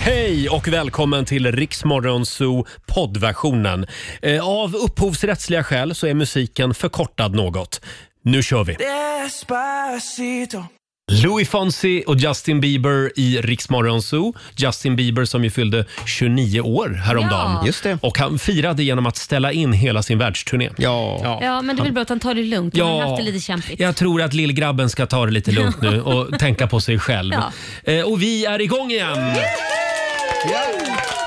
Hej och välkommen till Riksmorgonzoo poddversionen. Eh, Av upphovsrättsliga skäl så är musiken förkortad något. Nu kör vi! Despacito. Louis Fonsi och Justin Bieber i Riksmorgonzoo. Justin Bieber som ju fyllde 29 år häromdagen. Ja. Just det. Och han firade genom att ställa in hela sin världsturné. Ja. Ja, men det är väl bra att han tar det lugnt. Han har haft det lite kämpigt. jag tror att lillgrabben ska ta det lite lugnt nu och tänka på sig själv. Ja. Eh, Och vi är igång igen!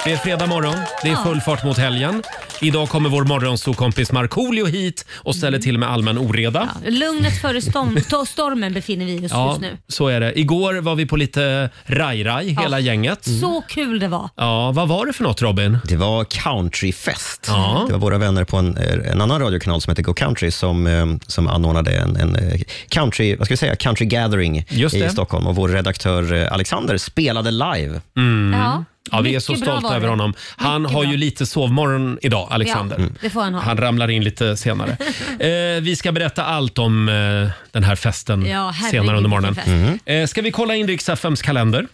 Det är fredag morgon, det är full fart mot helgen. Idag kommer vår morgonsokompis Markoolio hit och ställer Mm. till med allmän oreda. Lugnet före storm, to- stormen befinner vi oss Ja, just nu. så är det. Igår var vi på lite raj-raj, hela gänget. Mm. Så kul det var. Ja, vad var det för något Robin? Det var countryfest. Ja. Det var våra vänner på en, eh, en annan radiokanal som heter Go Country som, eh, som anordnade en, en eh, country, vad ska vi säga, country gathering Just det. i Stockholm. Och vår redaktör eh, Alexander spelade live. Ja, Mm. Ja, vi är mycket så bra var stolta det. över honom. Han Mycket har bra. ju lite sovmorgon idag, Alexander. Ja, Mm. det får han ha. Han ramlar in lite senare. eh, vi ska berätta allt om eh, den här festen Ja, herregud, senare under morgonen. vilken Mm-hmm. Eh, ska vi kolla in riks FMs kalender?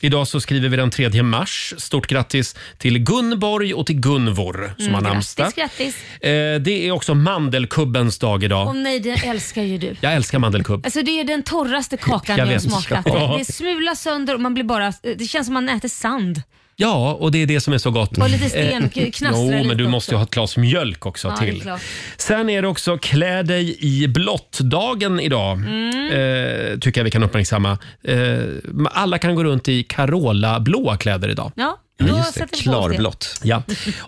Idag så skriver vi den 3 mars. Stort grattis till Gunborg och till Gunvor som har namnsdag. Mm, Grattis, grattis. Eh, det är också mandelkubbens dag idag. Åh nej, det älskar ju du. Jag älskar mandelkubb. Alltså det är den torraste kakan Jag jag, har vet. smakat. Ja. Det smular sönder och man blir bara... Det känns som man äter sand. Ja, och det är det som är så gott. Och lite sten Eh, knastrar Jo, lite men du också. måste ju ha ett glas mjölk också Ja, det är till. klart. Sen är det också klä dig i blått-dagen idag. Mm. Eh, tycker jag vi kan uppmärksamma. Eh, alla kan gå runt i Carola-blåa kläder idag. Ja, Ja, då just sätter det. vi på oss det. Klarblått. Ja.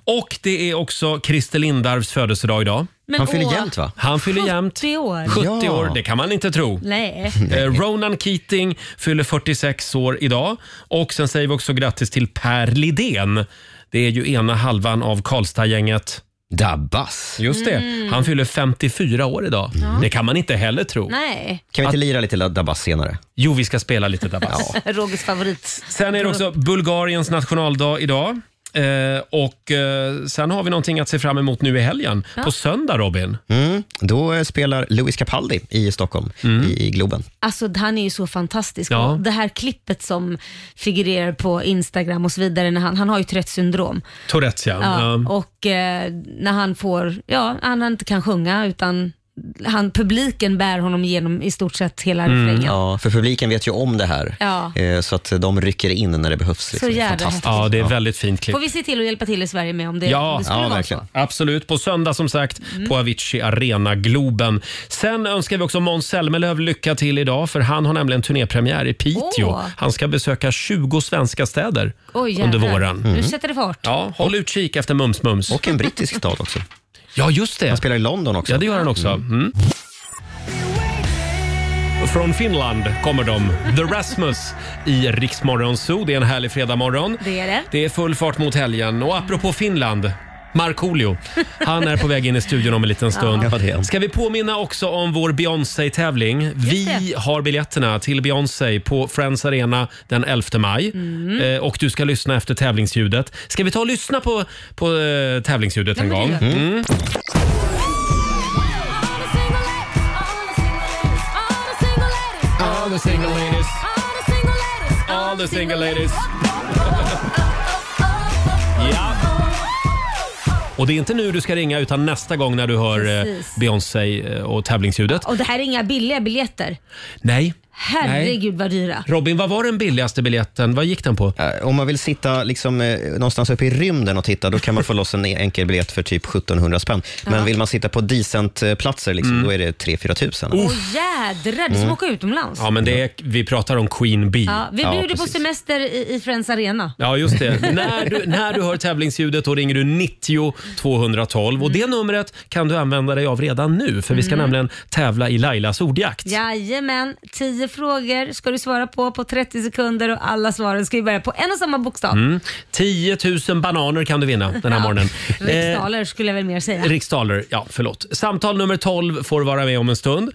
Och det är också Christer Lindarws födelsedag idag. Men Han fyller åh, jämnt va? Han fyller jämnt. 70 år. 70 Ja. år, det kan man inte tro. Nej. Eh, Ronan Keating fyller 46 år idag. Och sen säger vi också grattis till Per Lidén. Det är ju ena halvan av Karlstad-gänget. Dabbas. Just det. Mm. Han fyller 54 år idag. Det kan man inte heller tro. Nej. Kan vi inte lira lite Dabbas senare? Jo, vi ska spela lite Dabas. Rogers favorit. Sen är det också Bulgariens nationaldag idag. Eh, och eh, Sen har vi någonting att se fram emot nu i helgen. På söndag, Robin. Mm. Då eh, spelar Louis Capaldi i Stockholm, Mm. i, i Globen. Alltså han är ju så fantastisk. Ja. Och Det här klippet som figurerar på Instagram och så vidare, när han, han har ju Tourettes syndrom. Tourettes, ja. Ja, Ja. Och eh, när han får, ja, han inte kan sjunga utan han, publiken bär honom igenom i stort sett hela Mm. refrängen. Ja, för publiken vet ju om det här, Ja. Eh, så att de rycker in när det behövs. Liksom. Så Det är jävla fantastiskt. ja, det är väldigt fint klipp. Får vi se till att hjälpa till i Sverige med om det, Ja, om det skulle ja, vara verkligen. så. Mm. Absolut. På söndag som sagt på Avicii Arena Globen. Sen önskar vi också Måns Zelmerlöw lycka till idag för han har nämligen turnépremiär i Piteå. Åh. Han ska besöka 20 svenska städer Oj, under jävlar. våren. Mm. Nu sätter det fart. Ja, håll utkik efter Mums Mums. Och en brittisk stad också. Ja, just det. Han spelar i London också. Ja, det gör han också. Mm. Från Finland kommer de, The Rasmus, i Riksmorgon Zoo. Det är en härlig fredagmorgon. Det är det. Det är full fart mot helgen. Och apropå Finland, Markoolio. Han är på väg in i studion om en liten stund. Ja, det är han. Ska vi påminna också om vår Beyoncé-tävling? Vi har biljetterna till Beyoncé på Friends Arena den 11 maj. Eh, och du ska lyssna efter tävlingsljudet. Ska vi ta och lyssna på, på eh, tävlingsljudet en gång? Mm. All the single ladies, all the single ladies. Ja. Och det är inte nu du ska ringa utan nästa gång när du hör eh, Precis. Beyoncé eh, och tävlingsljudet. Och det här är inga billiga biljetter. Nej. Herregud vad dyra. Robin, vad var den billigaste biljetten? Vad gick den på? Eh, Om man vill sitta liksom, eh, någonstans uppe i rymden och titta, då kan man få loss en enkel biljett för typ 1700 spänn. Men vill man sitta på decentplatser, liksom, Mm. då är det 3-4 tusen. Åh jädrar, det är som att åka utomlands. Ja, men det är, vi pratar om Queen Bee. Ja, vi Ja, bjuder på precis. semester i, i Friends Arena. Ja, just det. när, du, när du hör tävlingsljudet då ringer du 90 212 och det numret kan du använda dig av redan nu för vi ska nämligen tävla i Lailas ordjakt. Jajamän, 10 frågor ska du svara på på 30 sekunder och alla svaren ska ju börja på en och samma bokstav. Mm. 10 000 bananer kan du vinna den här morgonen. Eh, Riksdaler skulle jag väl mer säga. Riksdaler, ja förlåt. Samtal nummer 12 får vara med om en stund.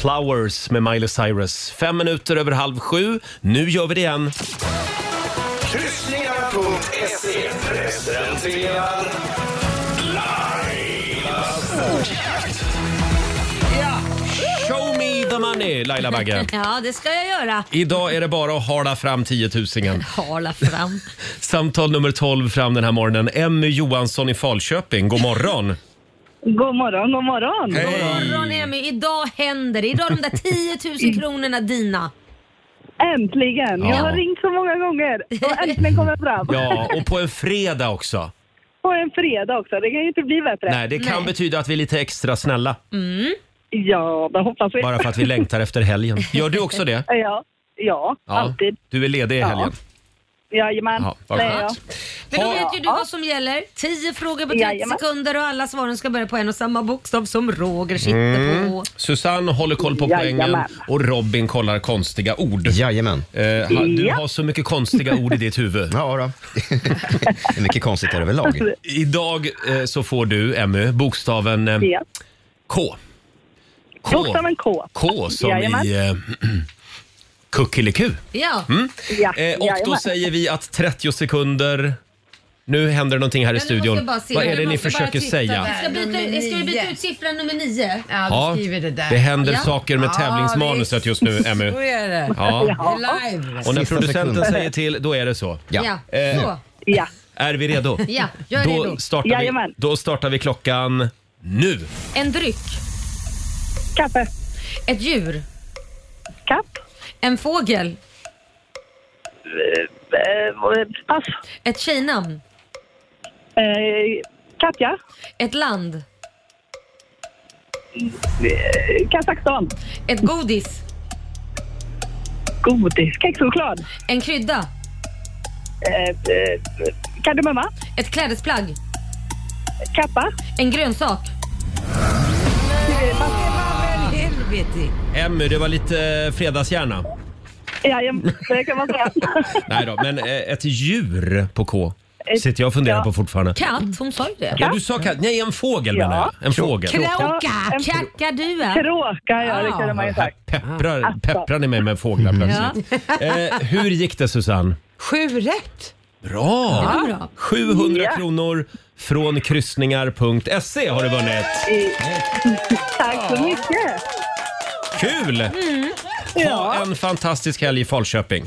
Flowers med Miley Cyrus. Fem minuter över halv sju. Nu gör vi det igen. Kryssningar.se presenterar Lailas Show me the the money, Laila Bagge. Ja, det ska jag göra. Idag är det bara att hala fram 10 000 Hala fram. Samtal nummer 12 fram den här morgonen. Emmy Johansson i Falköping, god morgon. God morgon, god morgon. Morgon Emmy, idag händer det. Idag är de där 10 Mm. 000 kronorna dina. Äntligen! Ja. Jag har ringt så många gånger och äntligen kommer jag fram. Ja, och på en fredag också. På en fredag också, det kan ju inte bli bättre. Nej, det kan Nej. Mm. betyda att vi är lite extra snälla. Ja, det hoppas vi. Bara för att vi längtar efter helgen. Gör du också det? Ja, ja, alltid. Du är ledig i helgen? Jajamän, Ja, vad det är jag. skönt. Men då Ha- vet ju du vad som gäller. 10 frågor på 30 Jajamän. sekunder och alla svaren ska börja på en och samma bokstav som Roger sitter Mm. på. Susanne håller koll på Jajamän. poängen och Robin kollar konstiga ord. Jajamän. Eh, ha- du Ja. har så mycket konstiga ord i ditt huvud. Ja då. det är mycket konstigt här överlag. Idag eh, så får du, Emmy, bokstaven eh, Ja. K. K. Bokstaven K. K som Jajamän. i eh, kuckeliku. Ja, Ja, Eh, och då jajamän. säger vi att 30 sekunder... Nu händer det någonting här i nu måste studion. jag bara se. Vad är Jag det ni måste bara försöker titta säga? där. ska, byta, Nummer ut- ska vi byta nio. ut siffran nummer 9? Ja, Ja, du skriver det där. det händer Ja. saker med tävlingsmanuset just nu, Emmy. Så är det. Ja. Det är Live. Och när Sista producenten sekunden. säger till, då är det så. Ja. Ja. Så. Ja. Är vi redo? Ja, jag är Eh, Då redo. startar, vi, Jajamän. då startar vi klockan nu. En dryck, Kaffe. ett djur, Kapp. en fågel, Eh, pass. ett tjejnamn, Eh, Katja. ett land, Eh, Kazakstan. ett godis, Godis. Kexchoklad. en krydda, Eh, eh, Kardemumma. ett klädesplagg, Kappa. en grönsak. Helvete. Emmy, det var lite fredagshjärna. Jajamän, det kan man säga. Nej då, men eh, ett djur på K Ett- sitter jag och funderar ja. på fortfarande. Katt, hon sa ju det. Ja, du sa katt. Nej, en fågel Ja. menar jag. En fågel. Ja, Kråka, en- kackadua. Kråka, ja, det kunde man ju Alltså. Här sagt. pepprar, pepprar ni mig med fåglar plötsligt. Eh, hur gick det Susanne? Sju rätt. Bra! Ja, bra. 700 Ja. kronor från kryssningar.se E har du vunnit. Tack så mycket. Kul! Mm. Ha en fantastisk helg i Falköping.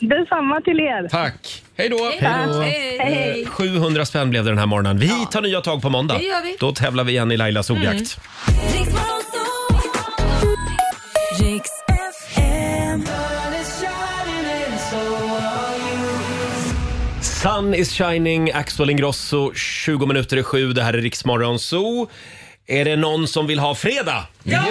Detsamma till er. Tack! Hej då! Hej. Eh, 700 spänn blev det den här morgonen. Vi tar nya tag på måndag. Det gör vi. Mm. Då tävlar vi igen i Lailas ordjakt. Riks FM. Sun is shining, Axel Ingrosso, 20 minuter i sju. Det här är Riksmorgon Zoo. Är det någon som vill ha fredag? Ja!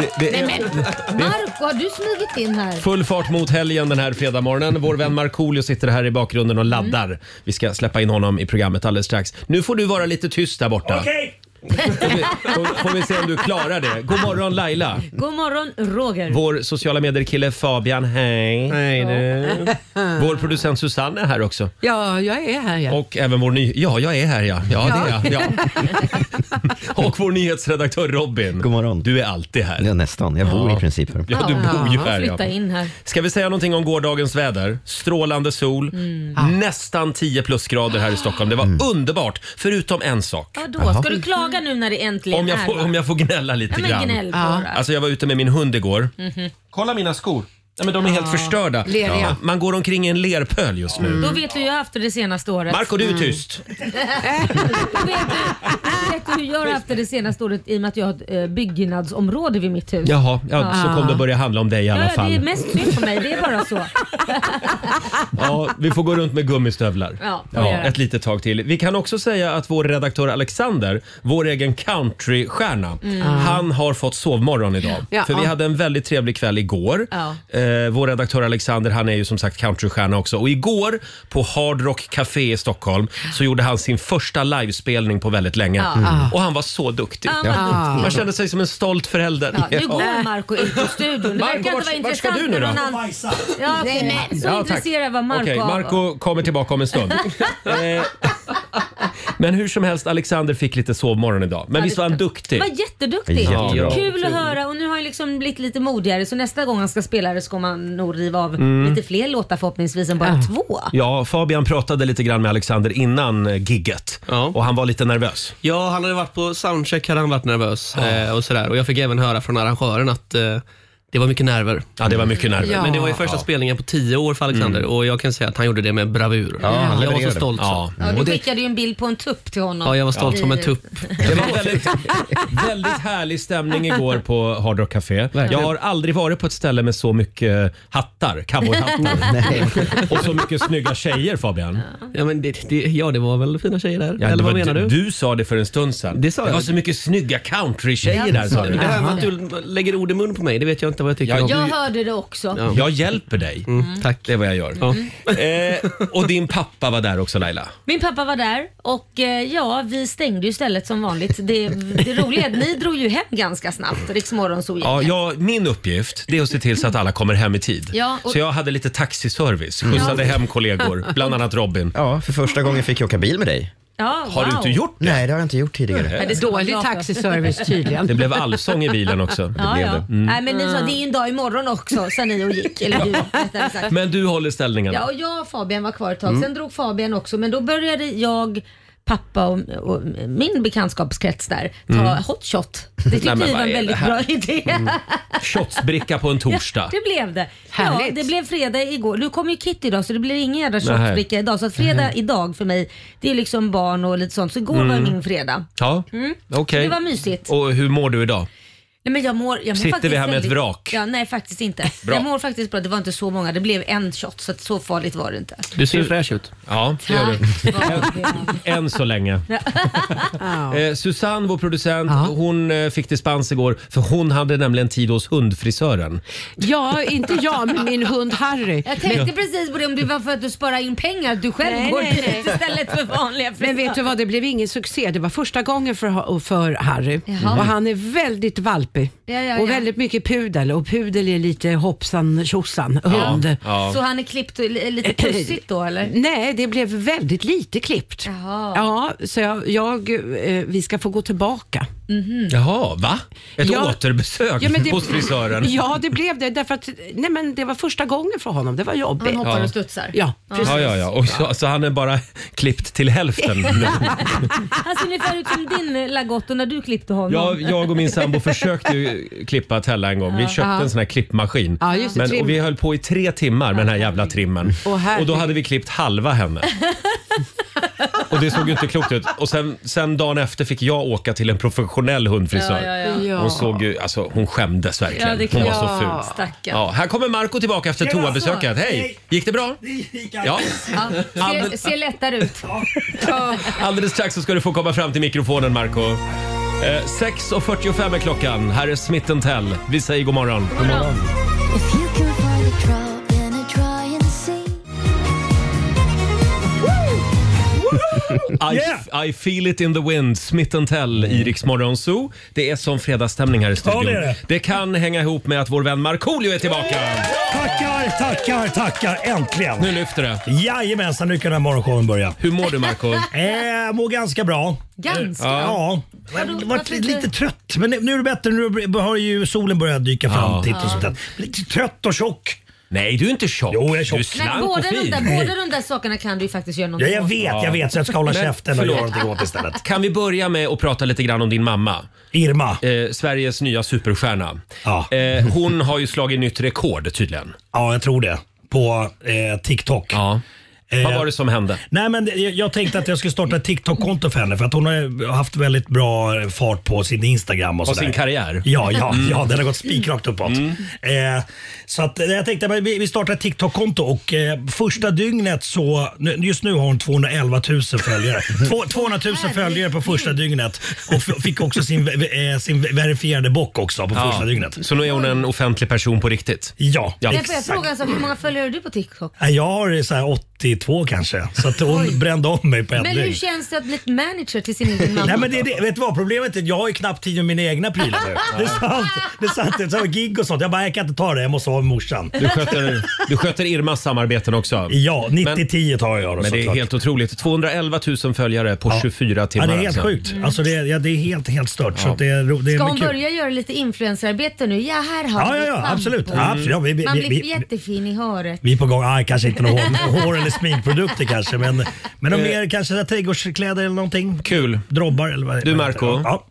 Det, det är Marco, har du smugit in här? full fart mot helgen den här fredagmorgonen. Vår vän Markoolio sitter här i bakgrunden och laddar. Mm. Vi ska släppa in honom i programmet alldeles strax. Nu får du vara lite tyst där borta. Okej! Får, vi- får vi se om du klarar det. God morgon Laila. God morgon Roger. Vår sociala medier-kille Fabian, hej. Hej du. Vår producent Susanne är här också. Ja, jag är här. Ja. Och även vår ny... Ja, jag är här ja. Ja, det är jag. Ja. Och vår nyhetsredaktör Robin. God morgon. Du är alltid Ja, här. nästan. Jag bor i princip här. Ja, du bor ju här Ah, Flytta ja. in här. Ska vi säga någonting om gårdagens väder? Strålande sol, Mm. Ah. nästan 10 plusgrader här i Stockholm. Det var Mm. underbart, förutom en sak. Ja, då Ska du klaga nu när det äntligen Om jag, är? får, va? om jag får gnälla ja, lite men grann. gnäll på ja. Alltså jag var ute med min hund igår. Kolla mina skor. Nej, men de är helt förstörda. Leriga. Ja. Man går omkring i en lerpöl just nu. Mm. Då vet du hur jag har haft det det senaste året. Marco, du är tyst. Då vet du, då vet du hur jag har haft det det senaste året i och med att jag har ett eh, byggnadsområde vid mitt hus. Jaha, ja, så kom det börja handla om dig i alla Ah. Ja, ja, det är fall. mest synd på mig, det är bara så. Ja, vi får gå runt med gummistövlar Ja, får vi göra. ett litet tag till. Vi kan också säga att vår redaktör Alexander, vår egen countrystjärna, Mm. han har fått sovmorgon idag. Ja. För vi hade en väldigt trevlig kväll igår. Ja. Eh, vår redaktör Alexander, han är ju som sagt countrystjärna också. Och igår på Hard Rock Café i Stockholm så gjorde han sin första livespelning på väldigt länge. Och han var så duktig. Mm. Ja, vad duktig. Man kände sig som en stolt förälder. Ja, nu Ja. går Marco ut ur studion. Det Marco, verkar inte vart- vara vart ska intressant du nu med då? någon annan. Ja, okay, men, så Ja, tack. intresserad var Marco Okej, av- Marco kommer tillbaka om en stund. Eh, Men hur som helst, Alexander fick lite sovmorgon idag. Men Ja, visst var han det- duktig? Var jätteduktig. Jättebra. Kul att höra och nu har han liksom blivit lite modigare så nästa gång han ska spela det ska man nog riva av lite fler låtar förhoppningsvis än bara två. Mm. Ja, Fabian pratade lite grann med Alexander innan eh, gigget Ja. och han var lite nervös. Ja, han hade varit på soundcheck hade han varit nervös eh, och sådär. Och jag fick även höra från arrangören att eh, det var mycket nerver. Ja, det var mycket nerver. Mm. Ja. Men det var ju första spelningen på tio år för Alexander och jag kan säga att han gjorde det med bravur. han jag var så levererade. stolt. så. Ja. Ja, du Och det, skickade ju en bild på en tupp till honom. Ja, jag var stolt I- som en tupp. det var väldigt, väldigt härlig stämning igår på Hard Rock Café. Jag har aldrig varit på ett ställe med så mycket hattar, cowboyhattar. och så mycket snygga tjejer Fabian. Ja, men det, det, ja, det var väl fina tjejer där? Ja, det Eller vad var- menar du? Du sa det för en stund sedan. Det sa det jag. var så mycket snygga countrytjejer där sa du. Det här med att du lägger ord i mun på mig, det vet jag inte vad jag tycker Ja, om. Jag hörde det också. Ja. Jag hjälper dig. Mm, tack. Det är vad jag gör. Ja. Eh, och din pappa var där också Laila. Min pappa var där och eh, ja, vi stängde ju stället som vanligt. Det, det roliga är att ni drog ju hem ganska snabbt, Riksmorgon så Ja, jag, min uppgift det är att se till så att alla kommer hem i tid. Ja, och- Så jag hade lite taxiservice, skjutsade hem kollegor, bland annat Robin. Ja, för första gången fick jag åka bil med dig. Ja, Har du wow. inte gjort det? Nej, det har jag inte gjort tidigare. Men det ska man Dålig vara glad för. taxiservice tydligen. Det blev allsång i bilen också. Ja, ja. Mm. Nej, men ni sa, det är ju en dag imorgon också, sa ni och gick. Eller du, rättare sagt. Men Mm. du håller ställningarna. Ja, och jag och Fabian var kvar ett tag. Sen drog Fabian också, men då började jag pappa och, och min bekantskapskrets där ta hot shot. Det tyckte Mm. men vi vad var en är det väldigt här? Mm. bra idé. Shotsbricka på en torsdag. Det blev det. Ja, Härligt. det blev fredag igår. Nu kommer ju Kitty idag så det blir ingen jädra Nähä. shotsbricka idag. Så att fredag Mm. idag för mig, det är liksom barn och lite sånt. Så igår var min fredag. Mm. Ja, okej. Det var mysigt. Och hur mår du idag? Nej, men jag mår, jag mår Sitter vi faktiskt här med ett väldigt- vrak? Ja, nej, faktiskt inte. Bra. Jag mår faktiskt bra. Det var inte så många. Det blev en shot så att så farligt var det inte. Du ser fräsch ut. Ja, det gör du. Tack. Än så länge. Ja. Eh, Susanne, vår producent, Ja. hon eh, fick dispens igår för hon hade nämligen tid hos hundfrisören. ja, inte jag men min hund Harry. Jag tänkte precis på det om det var för att du sparar in pengar, att du själv Nej, går nej, dit istället för vanliga Men vet du vad, det blev ingen succé. Det var första gången för, för Harry Jaha. och han är väldigt valpig Ja, ja, och ja. väldigt mycket pudel och pudel är lite hoppsan tjosan, hund. Ja. Så han är klippt och li- lite pussigt då eller? Nej, det blev väldigt lite klippt. Jaha. Ja, så jag, jag, eh, vi ska få gå tillbaka. Mhm. Jaha, va? Ett Ja. återbesök Ja, men det- hos frisören. Ja, det blev det. Därför att, nej, men det var första gången för honom. Det var Han jobbigt. hoppar Ja. och studsar. Ja, precis. Ja, ja, ja. Och så, så han är bara klippt till hälften. Han ser ungefär ut som din eh, Lagotto när du klippte honom. Jag, jag och min sambo försökte ju klippa Tella en gång. Vi köpte en sån här klippmaskin. Ja, just det, men, trim. och vi höll på i tre timmar med den här jävla trimmen. Åh, herregud. och då hade vi klippt halva henne. Och det såg ju inte klokt ut. Och sen, sen dagen efter fick jag åka till en professionell hundfrisör. Ja, ja, ja. Ja. Hon såg ju, alltså hon skämdes Ja, verkligen. det kan hon var jag- så Ja. ful. Stackarn. Ja, här kommer Marco tillbaka efter toabesöket. Hej! Gick det bra? Ja. Ja, ser, ser lättare ut. Alldeles strax så ska du få komma fram till mikrofonen, Marco. Eh, 6.45 är klockan. Här är Smith Tell. Vi säger god morgon. God morgon. If you can find a drop in a try and see. I, I feel it in the wind, Smith Tell i Rix Morgon Zoo. Det är som fredagsstämning här i studion. Ja, det är det. kan hänga ihop med att vår vän Markoolio är tillbaka. Tackar, tackar, tackar. Äntligen! Nu lyfter det. Jajamensan, nu kan den här morgonshowen börja. Hur mår du, Marco? Eh, mår ganska bra. Ganska. Ja, Vadå, jag varit varför lite inte- trött. Men nu är det bättre. Nu har ju solen börjat dyka fram. Ja. Och sånt där. Lite trött och tjock. Nej, du är inte tjock. Jo, jag är Du tjock. är Nej, Men slank och båda de, där, fin. båda de där sakerna kan du ju faktiskt göra Ja, någonting jag åt. vet, jag vet. Så jag ska hålla Men, käften och förlåt. göra någonting åt istället. Kan vi börja med att prata lite grann om din mamma? Irma. Eh, Sveriges nya superstjärna. Ja. Eh, hon har ju slagit nytt rekord tydligen. Ja, jag tror det. På eh, TikTok. Ja. Eh, Vad var det som hände? Nej, men det- jag, jag tänkte att jag skulle starta ett TikTok-konto för henne för att hon har ju haft väldigt bra fart på sin Instagram och På sådär. sin karriär? Mm. Ja, ja, ja, den har gått spikrakt uppåt. Eh, så att, eh, jag tänkte att vi, vi startar ett TikTok-konto och eh, första dygnet så, nu- just nu har hon 211 000 följare. Två, 200 000 följare på första dygnet och f- fick också sin, eh, sin verifierade bock också på första dygnet. Så nu är hon en offentlig person på riktigt? Ja, Ja. Därför jag frågar alltså, hur många följare har du på TikTok? Nej, Jag har så här 80 42 kanske. Så att hon brände om mig på en Men hur dygn. känns det att bli ett manager till sin egen mamma? Nej, men det, är det, vet du vad problemet är? Jag har ju knappt tid med mina egna prylar nu. Det är sant. Det är sant. Det är så gig och sånt. Jag bara, jag kan inte ta det. Jag måste ha med morsan. Du sköter, du sköter Irmas samarbeten också. Ja, 90-10 tar jag då Men det är såklart. helt otroligt. 211 000 följare på 24 timmar. Ja, det är helt alltså. sjukt. Alltså det, är- ja, det är helt, helt stört. Så att det är, ro- det är Ska hon mycket- börja göra lite influencerarbete nu? Ja, här har Ja, vi ja, ja, ett schampo. absolut. Ja, absolut. Ja, vi, vi, Man vi, blir vi, jättefin i håret. vi är på gång. Ah, kanske inte några hår, hår eller sminkprodukter kanske. Men, men om mer kanske så här trädgårdskläder eller någonting. Eh. Kul. Drobbar eller vad Du vad heter det? Marco, Ja.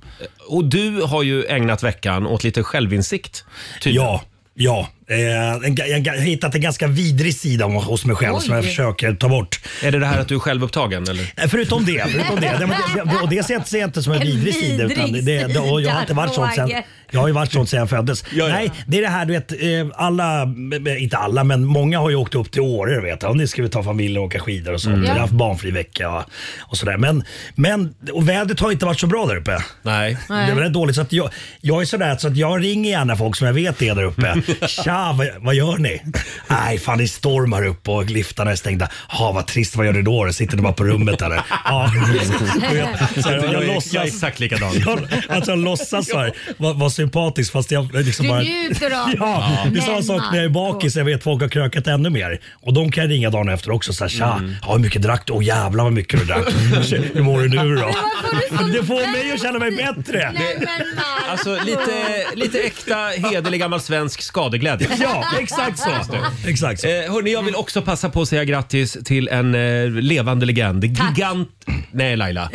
och du har ju ägnat veckan åt lite självinsikt. tydligen. Ja. Ja, eh, en ga- jag har hittat en ganska vidrig sida hos mig själv som jag Oj. försöker ta bort. Är det det här att du är självupptagen eller? Eh, Förutom det. Förutom det. Nej, men det, det, och det ser jag, inte- ser jag inte som en En vidrig sida. Utan det, vidrig det, och jag har inte sida, varit sånt sen, Roger. jag har ju varit sånt sen jag föddes. Nej, det är det här du vet, eh, alla, eh, inte alla, men många har ju åkt upp till Åre. du Vet, och nu ska vi ta familj och åka skidor och sånt. Mm. Vi har haft barnfri vecka och, och sådär. Men, men och vädret har inte varit så bra där uppe. Nej. Det var rätt dåligt. Så att jag, jag är sådär så att jag ringer gärna folk som jag vet är där uppe. Tja, vad, vad gör ni? Nej, fan det stormar upp och liftarna är stängda. Ja, vad trist. Vad gör du då? Sitter du bara på rummet eller? Ja. Och jag, så här, jag, jag är låtsas. exakt likadan. Jag, alltså jag låtsas så här, vara var sympatisk fast jag liksom Du bara... njuter av Ja, det är samma Men sak när jag är Marco. bakis. Jag vet folk har krökat ännu mer. Och de kan jag ringa dagen efter också. Så här, tja, Mm. ja, hur mycket drack du? Åh jävlar vad mycket du drack. Hur mår du nu då? varför är du så Det får mig att känna mig bättre. Nej, men Marco. Alltså lite, lite äkta hederlig gammal svensk skadeglädje. Ja, exakt så. Exakt så. Eh, hörni, jag vill också passa på att säga grattis till en eh, levande legend. Gigant... Nej, Laila.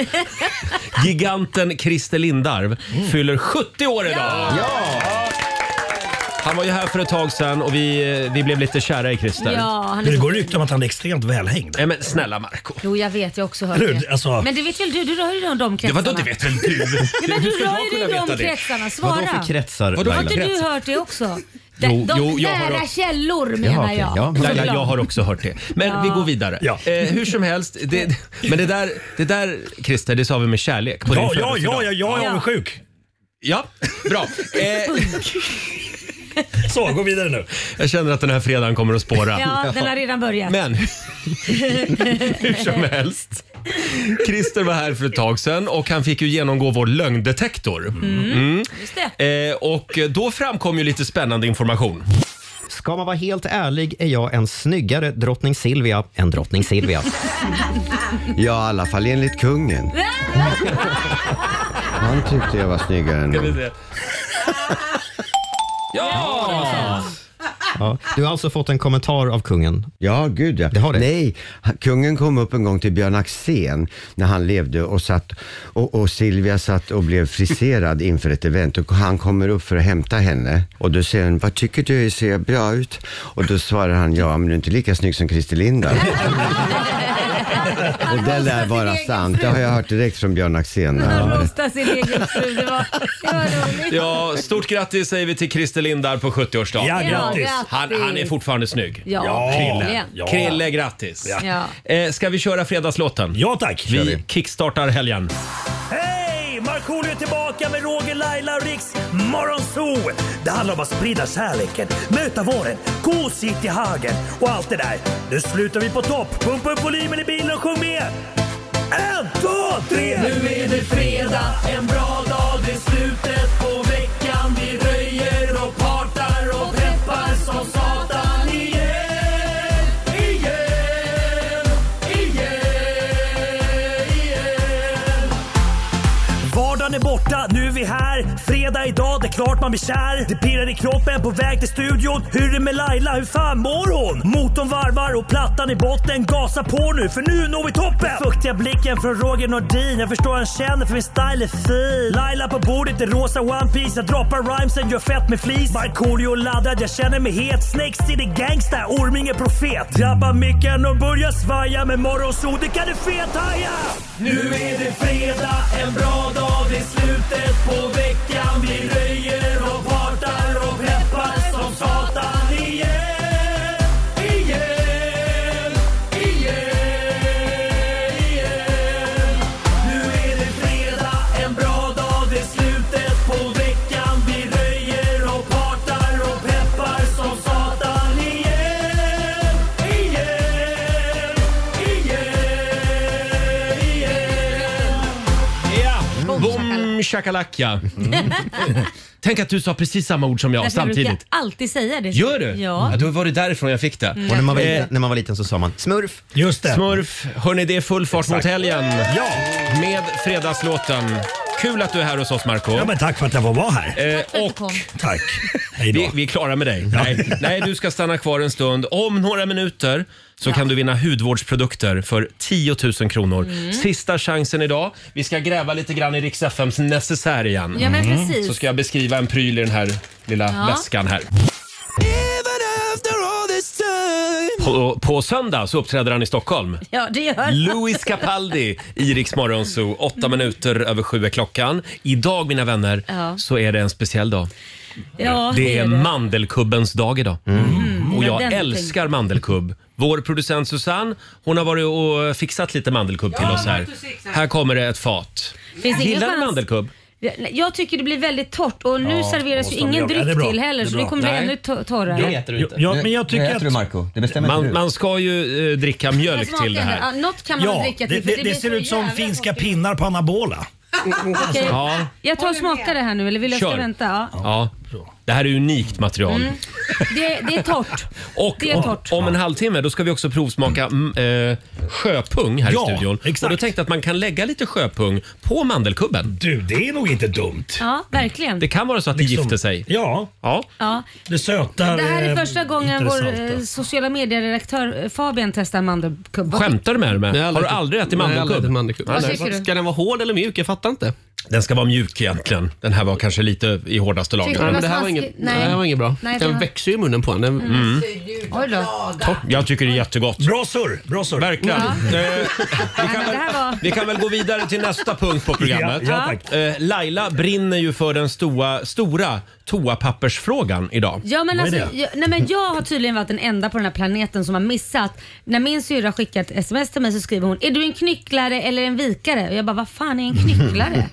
Giganten Christer Lindarw Mm. fyller 70 år idag! Han var ju här för ett tag sedan och vi, eh, vi blev lite kära i Christer. Ja, han Men är det så... går rykten om att han är extremt välhängd. Nej, men snälla Marco Jo, jag vet. Jag har också hört Eller hur? det. Alltså- Men det vet väl du? Du rör ju de, de Det var kretsarna. då det vet väl du? Ja, men du Hur ska rör jag ju kunna i veta de det? kretsarna. Vadå Svara. för kretsar Vadå för Har Laila? inte du hört det också? De, Jo, de jo, jag har nära hört- källor menar okej, jag. ja. Laila, jag har också hört det. Men vi går vidare. Ja. Eh, hur som helst, det, men det där, det där Christer, det sa vi med kärlek Ja, på din ja, födelsedag. ja, ja, jag är Ja. avundsjuk. Ja, bra. Eh, Så, gå vidare nu. jag känner att den här fredagen kommer att spåra. Ja, den har redan börjat. Men hur som helst. Christer var här för ett tag sedan och han fick ju genomgå vår lögndetektor. Just det. Eh, och då framkom ju lite spännande information. Ska man vara helt ärlig är jag en snyggare drottning Silvia än drottning Silvia. Ja, i alla fall enligt kungen. Han tyckte jag var snyggare än hon. Ja! Ja. Du har alltså fått en kommentar av kungen. Ja, gud ja. Det har det. Nej, han- kungen kom upp en gång till Björn Axén när han levde och, satt, och, och Silvia satt och blev friserad inför ett event och han kommer upp för att hämta henne och då säger hon, vad tycker du, ser jag bra ut? Och då svarar han, ja men du är inte lika snygg som Christer Lindarw. och det lär vara sant, det har jag hört direkt från Björn Axén. Han rostar sin egen fru. Det var, det var roligt. Ja, stort grattis säger vi till Christer Lindar på 70-årsdagen. Ja, grattis. Han, han är fortfarande snygg. Ja, Ja. verkligen. Ja. Krille, grattis. Ja. Eh, ska vi köra fredagslåten? Ja, tack. Vi kickstartar helgen. Hej! Markoolio är tillbaka med Roger, Laila och Riks Morgonzoo! Det handlar om att sprida kärleken, möta våren, gosigt i hagen och allt det där. Nu slutar vi på topp! Pumpa upp volymen i bilen och sjung med! En, två, tre! Nu är det fredag, en bra dag, det är slutet på veckan. Vi röjer och partar och peppar som satan igen, igen, igen, igen. Vardagen är borta, nu är vi här. Fredag idag, det är klart man blir kär. Det pirrar i kroppen på väg till studion. Hur är det med Laila, hur fan mår hon? Motorn varvar och plattan i botten. Gasa på nu, för nu når vi toppen! Den Fuktiga blicken från Roger Nordin. Jag förstår han känner för min style är fin. Laila på bordet i rosa One Piece Jag droppar rhymesen, gör fett med flis. Markoolio laddad, jag känner mig het. Snakes city gangsta, Orminge profet. Drabbar micken och börjar svaja. Med morgonsol, det kan du fethaja! Nu är det fredag, en bra dag, det är slutet på veckan. Vi röjer och partar och peppar som satan igen. Igen, igen, igen. Nu är det fredag, en bra dag, det är slutet på veckan. Vi röjer och partar och peppar som satan igen. Igen, shakalaka. Mm. Tänk att du sa precis samma ord som jag Därför samtidigt. Jag brukar alltid säga det. Gör du? Ja. då var det därifrån jag fick det. Mm, Och när man var liten- när man var liten så sa man smurf. Just det. Smurf. Hörni, det är full fart mot Exakt. helgen. Ja. Med fredagslåten. Kul att du är här hos oss, Marco Ja, men tack för att jag får vara här. Eh, och... Tack. Vi, vi är klara med dig. Nej, nej, du ska stanna kvar en stund. Om några minuter så kan du vinna hudvårdsprodukter för 10 000 kronor. Mm. Sista chansen idag. Vi ska gräva lite grann i Rix FMs necessär igen. Ja, men precis. Så ska jag beskriva en pryl i den här lilla Ja. väskan här. På, på söndag så uppträder han i Stockholm. Ja, det gör Louis Capaldi i Rix Morgonzoo. Åtta minuter över sju är klockan. Idag, mina vänner, Ja. så är det en speciell dag. Ja, Det är mandelkubbens dag idag. Mm. Och Ja, jag den älskar mandelkubb. Vår producent Susanne, hon har varit och fixat lite mandelkubb till oss här. Här kommer det ett fat. Finns Gillar du ingenstans- mandelkubb? Jag- Jag tycker det blir väldigt torrt och nu Ja, serveras ju måste ingen man göra. Ja, det är dryck bra. till heller Det är så det bra. kommer bli Nej. ännu to- torrare. Det bestämmer man, inte du. man ska ju eh, dricka mjölk smakar Ah, till det ändå- här. ja, något kan man väl dricka till, det, för det det, det, blir ser så ut som jävla finska pinnar på anabola. Okej, Ja. Jag tar och smakar det här nu eller vill jag Kör. ska vänta? Ja. Ja. Det här är unikt material. Mm. Det, det är torrt. Och det är torrt. om en halvtimme då ska vi också provsmaka mm, eh, sjöpung här Ja, i studion. Och då tänkte jag att man kan lägga lite sjöpung på mandelkubben. Du, det är nog inte dumt. Ja, verkligen. Mm. Det kan vara så att det gifter sig. Liksom- Ja. ja. Ja. Det söta. Det här är eh, första gången vår intressanta. alltså. eh, sociala medieredaktör eh, Fabian testar mandelkubb. Vad- Skämtar du med dig? med? Nej, jag Har du aldrig ätit Nej, jag har aldrig mandelkubb? ätit mandelkubb. Vad tycker du? Ska den vara hård eller mjuk? Jag fattar inte. Den ska vara mjuk egentligen. Den här var kanske lite i hårdaste laget. Tyckte Mm. du men var det här var smaskig? inget, Nej. nej. det här var inget bra. Nej, det den var- växer ju i munnen på en. Den, Mm. Oj då. Jag tycker det är jättegott. Bra surr! Bra surr. Verkligen. Ja. Eh, Nej, men det här var... vi kan väl gå vidare till nästa punkt på programmet. Ja, ja, tack. Eh, Laila brinner ju för den stora, stora toapappersfrågan idag. Ja, men Vad är alltså, det? jag, nej, men jag har tydligen varit den enda på den här planeten som har missat. När min syrra skickat sms till mig så skriver hon “Är du en knycklare eller en vikare?” och jag bara “Vad fan är en knycklare?”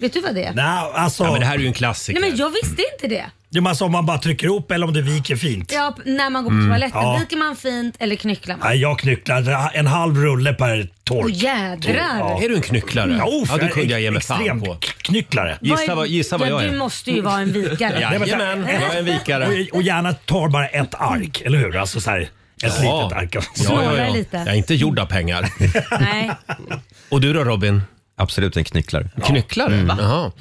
Vet du vad det är? Nej, alltså... men det här är ju en klassiker. Nej men jag visste inte det. men alltså om man bara trycker ihop eller om det viker fint. Ja, p- när man går på Mm. toaletten, Ja. viker man fint eller knycklar man? Nej, jag knycklar en halv rulle per tork. Åh jädrar! Ja. Är du en knycklare? Ja, oh, ja, det kunde jag ge mig fan extremt på. Knycklare. Gissa vad, gissa vad ja, jag Du är. måste ju vara en vikare. Nej, vänta. Jajamän, jag är en vikare. Och, och gärna tar bara ett ark, eller hur? Alltså så här, ett litet ark. Ja, ja, ja. lite. Jag är inte gjord av pengar. Nej. Och du då Robin? Absolut en knycklare. Knycklare? Mm. Jaha.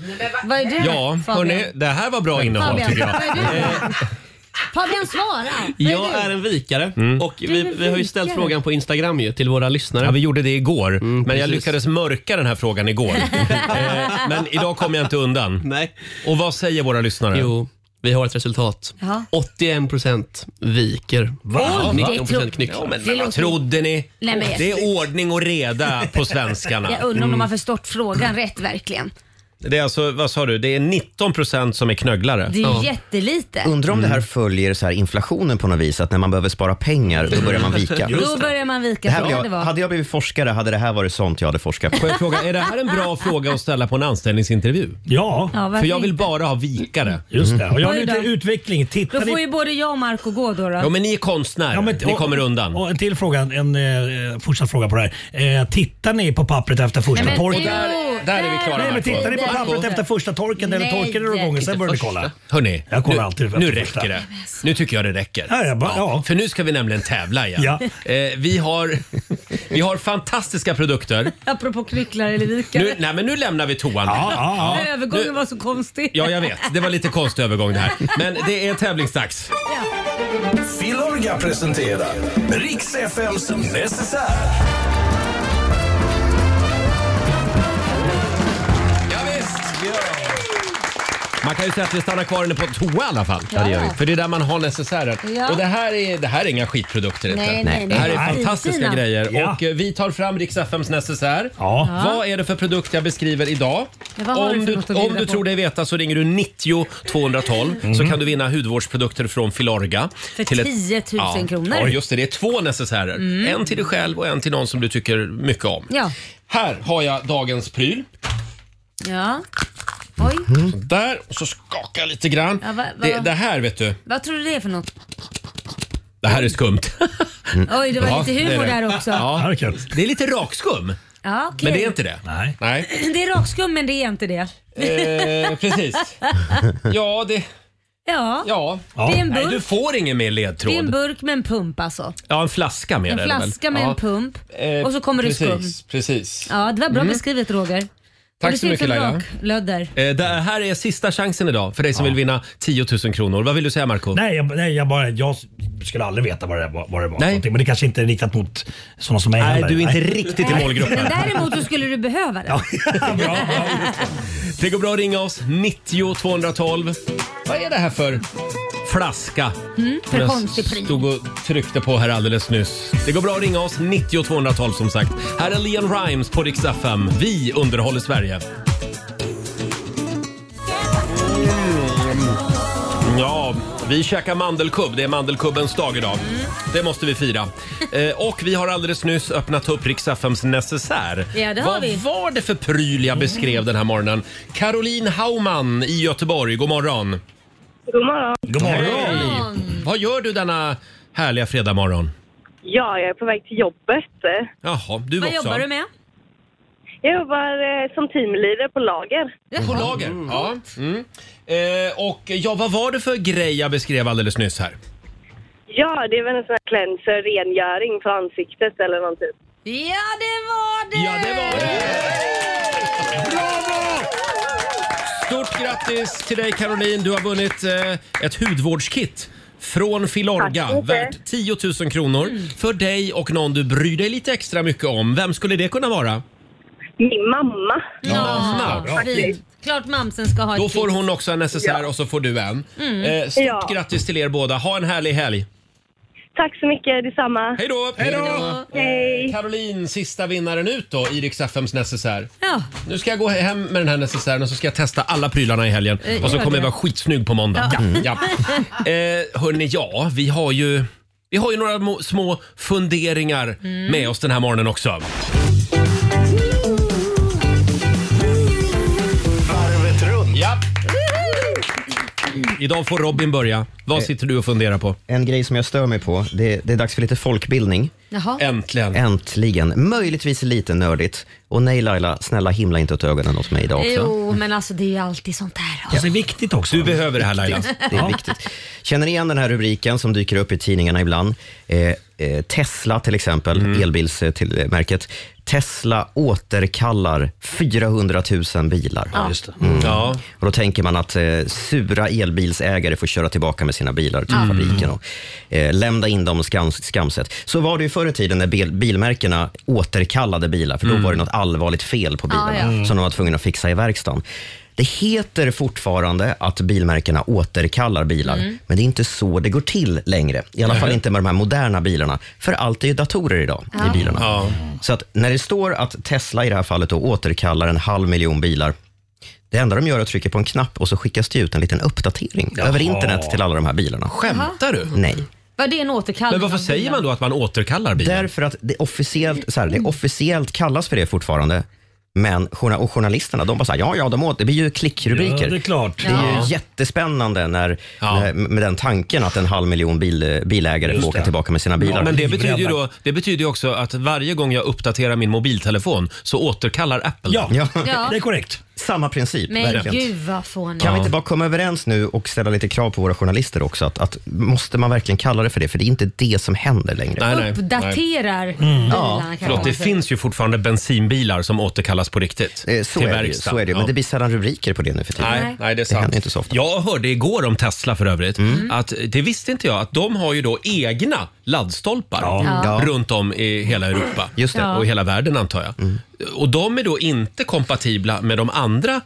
Vad är du Ja, Fabian? hörni, det här var bra innehåll Fabian, tycker jag. Eh, vad är du? Fabian svara! Vad är Jag du? är en vikare och Du är vi, en vi har ju vikare. ställt frågan på Instagram ju till våra lyssnare. Mm. Mm, Ja, vi gjorde det igår, men jag precis. lyckades mörka den här frågan igår. eh, men idag kom jag inte undan. Nej. Och vad säger våra lyssnare? Jo, vi har ett resultat. Jaha. 81 procent viker. Oj, det är 19 procent tråkigt. knycklar. Ja, men Men vad trodde ni? Nej, men- Det är ordning och reda på svenskarna. Mm. Jag undrar om de har förstått frågan rätt verkligen. Det är alltså, vad sa du, det är 19 procent som är Mm. knögglare. Det är ju jättelite. Undrar om det här följer så här inflationen på något vis, att när man behöver spara pengar Mm. då börjar man vika. Då börjar man vika. Det här så blir kan det jag, vara. hade jag blivit forskare hade det här varit sånt jag hade forskat Får på. jag fråga, är det här en bra fråga att ställa på en anställningsintervju? Ja. Ja, varför För jag vill inte? bara ha vikare. Mm. Just det. Och jag har Oj lite då. utveckling. Titta Då får ju både jag och Marco gå då. då. Ja, men ni är konstnärer. Ja, men- ni kommer undan. Och en till fråga, en eh, fortsatt fråga på det här. Eh, tittar ni på pappret efter första Nej, men- torken? jo, där- där är vi klara, Nej, men Marco. tittar ni på Där- pappret efter första torken eller Nej. torkar ni några gånger, sen börjar ni kolla. Hörni, Jag kollar nu, alltid efter nu första. räcker det. Nu tycker jag det räcker. Ja, jag bara- ja. För nu ska vi nämligen tävla igen. Ja. Eh, vi, har, vi har fantastiska produkter. Apropå knycklare eller vikare. Nu, nej, men nu lämnar vi toan. Övergången Nu- var så konstig. Ja, jag vet. Det var lite konstig övergång det här. Men det är tävlingsdags. Filorga presenterar Riks FMs necessär. Man kan ju säga att vi stannar kvar inne på toa i alla fall. Ja, det gör vi. För det är där man har necessären. Ja. Och det här, är, det här är inga skitprodukter inte. Nej, nej, Det här nej. är Nej. fantastiska Fina. grejer. Ja. Och eh, vi tar fram Rix FMs necessär. Ja. Vad är det för produkt jag beskriver idag? Ja, vad har du om för du, något att om bjuda du på? tror dig veta så ringer du 90 212 så Mhm. kan du vinna hudvårdsprodukter från Filorga. För 10 000 kronor. Mm. Ja, just det. Det är två necessärer. En till dig själv och en till någon som du tycker mycket om. Ja. Här har jag dagens pryl. ja. Oj, Mm. Där, och så skakar jag lite grann. Ja, va- va- det, det här vet du, vad tror du det är för något? det här är skumt. Oj, det var Ja, lite humor det är det. där också. Ja. det är kul. Det är lite rakskum. Ja, okej. Men det är inte det. Nej. Det är rakskum men det är inte det. Eh, precis. Ja, det... Ja. ja. Det är en Nej, burk. du får ingen mer Det är en ledtråd. burk med en pump alltså. Ja, en flaska med En det är det väl? flaska med ja. en pump Eh, och så kommer det precis, skum. Precis. Ja, det var bra Mm. beskrivet Roger. Tack det så ser ut mycket, som Laila. raklödder. Eh, Det här är sista chansen idag för dig som vill vinna 10 000 kronor. Vad vill du säga Marco? Nej, jag, nej jag, bara, jag skulle aldrig veta vad det var. Vad det var för någonting, men det kanske inte är riktat mot sådana som mig Nej, heller. du är inte riktigt i målgruppen. Men däremot så skulle du behöva det. Det går bra att ringa oss, 90 212. Vad är det här för flaska? Mm, för Som jag konstig pryl. stod och tryckte på här alldeles nyss. Det går bra att ringa oss, 90 212 som sagt. Här är Leon Rimes på Rix FM. Vi underhåller Sverige. Mm. Ja, vi käkar mandelkubb. Det är mandelkubbens dag idag. Det måste vi fira. Eh, och vi har alldeles nyss öppnat upp Rix FMs necessär. Ja, det har Vad vi. var det för pryl jag beskrev den här morgonen? Caroline Haumann i Göteborg, god morgon. God morgon. God morgon. Vad gör du denna härliga fredagmorgon? Ja, jag är på väg till jobbet. Jaha, du också. med? Jag jobbar eh, som teamleader på lager. På lager? Ja. Mm. Eh, och ja, vad var det för grej jag beskrev alldeles nyss här? Ja, det är väl en sån här cleanser, rengöring för ansiktet eller typ. någonting. Ja, det var det! Ja, det var det! Bravo! Stort grattis till dig Caroline. Du har vunnit eh, ett hudvårdskit från Tack så Filorga mycket. värt 10 000 kronor för dig och någon du bryr dig lite extra mycket om. Vem skulle det kunna vara? Min mamma. Mamma. Bra. Fint. Klart mamsen ska ha Då ett får kit. hon också en necessär och så får du en. Mm. Eh, stort Ja. grattis till er båda. Ha en härlig helg. Tack så mycket, detsamma. Hej då! Hej då! eh, Caroline, sista vinnaren ut då i Rix FMs necessär. Ja. Nu ska jag gå hem med den här necessären och så ska jag testa alla prylarna i helgen. Eh, Och så gör kommer jag det. vara skitsnygg på måndag. Ja. Ja. Mm. Ja. Eh, hörni, ja, vi har ju, vi har ju några mo- små funderingar Mm. med oss den här morgonen också. Varvet runt. Ja. Idag får Robin börja. Vad sitter du och funderar på? Eh, En grej som jag stör mig på, det, det är dags för lite folkbildning. Jaha. Äntligen. Äntligen. Möjligtvis lite nördigt. Och nej Laila, snälla himla inte åt ögonen åt mig idag också. Jo, men alltså det är ju alltid sånt där. Det Alltså, är viktigt också. Du behöver det här Laila. Det är viktigt. Känner ni igen den här rubriken som dyker upp i tidningarna ibland? Eh, eh, Tesla till exempel, Mm. elbilsmärket. Tesla återkallar 400 000 bilar. Ja, just det. Mm. Ja. Och då tänker man att eh, sura elbilsägare får köra tillbaka med sina bilar till Mm. fabriken och eh, lämna in dem skam, skamset. Så var det ju förr i tiden när bil, bilmärkena återkallade bilar, för då var det något allvarligt fel på bilarna Ah, Mm. ja. Mm. som de var tvungna att fixa i verkstaden. Det heter fortfarande att bilmärkena återkallar bilar, Mm. men det är inte så det går till längre. I alla fall Nej. inte med de här moderna bilarna, för allt är ju datorer idag Ja. i bilarna. Så att när det står att Tesla i det här fallet då återkallar en halv miljon bilar, det enda de gör är att trycka på en knapp och så skickas det ut en liten uppdatering Jaha. över internet till alla de här bilarna. Skämtar du? Nej. Var det en återkallelse? av bilen? då att man återkallar bilen? Därför att det officiellt, så här, det officiellt kallas för det fortfarande. Men journa- och journalisterna de bara så här, ja, ja, de åt, det blir ju klickrubriker. Ja, det är klart. Det är Ja. ju jättespännande när, när, med den tanken att en halv miljon bil, bilägare Just får åka det. tillbaka med sina bilar. Ja, men det betyder ju då, det betyder ju också att varje gång jag uppdaterar min mobiltelefon så återkallar Apple den. Ja. det är korrekt. Samma typ princip, Men verkligen. gud vad fånigt. Kan vi inte bara komma överens nu och ställa lite krav på våra journalister också? Att, att, måste man verkligen kalla det för det? För det är inte det som händer längre. Uppdaterar Mm. bilarna Ja, kan Förlåt, man det säga. finns ju fortfarande bensinbilar som återkallas på riktigt. Eh, Så är, det, ju, så är det ju, men det blir sällan rubriker på det nu för tiden. Nej, nej, det är sant. händer inte så ofta. Mm. Jag hörde igår om Tesla för övrigt, att eh, det visste inte jag, att de har ju då egna laddstolpar Ja. Ja. runt om i hela Europa. Just det. Mm. Och i hela världen antar jag. Och de är då inte kompatibla med de andra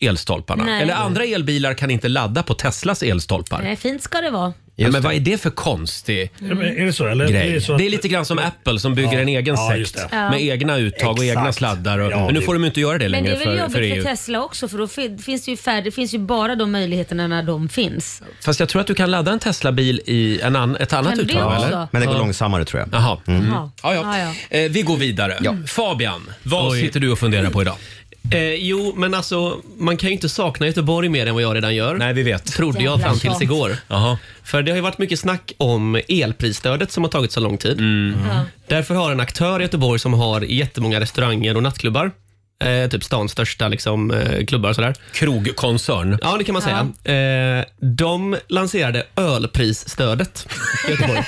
elstolparna. Nej. Eller andra elbilar kan inte ladda på Teslas elstolpar. Nej, fint ska det vara. Ja, men vad är det för konstig Ja, men är det så, eller? grej? Är det så att- lite grann som Apple som bygger en egen Ja, just sekt det. Ja. med egna uttag och egna Exakt. sladdar. Och, Ja, men nu det- får de ju inte göra det Men det längre är väl för, jobbigt för E för, EU. Tesla också för då fin- finns det ju, färre, det finns ju bara de möjligheterna när de finns. Fast jag tror att du kan ladda en Tesla-bil i en an, ett annat Kan det uttag, också? eller? Men det går långsammare tror jag. Jaha. Mm. Jaha. Ja, ja. Ja, Eh, vi går vidare. Fabian, vad Oj. sitter du och funderar på idag? Eh, jo, men alltså man kan ju inte sakna Göteborg mer än vad jag redan gör. Nej, vi vet. Trodde jag Jävla fram tills tjat. igår. För det har ju varit mycket snack om elprisstödet som har tagit så lång tid. Mm. Ja. Därför har en aktör i Göteborg som har jättemånga restauranger och nattklubbar Eh, typ stans största liksom, eh, klubbar och sådär. Krogkoncern. Ja, det kan man säga. Eh, de lanserade ölprisstödet i Göteborg.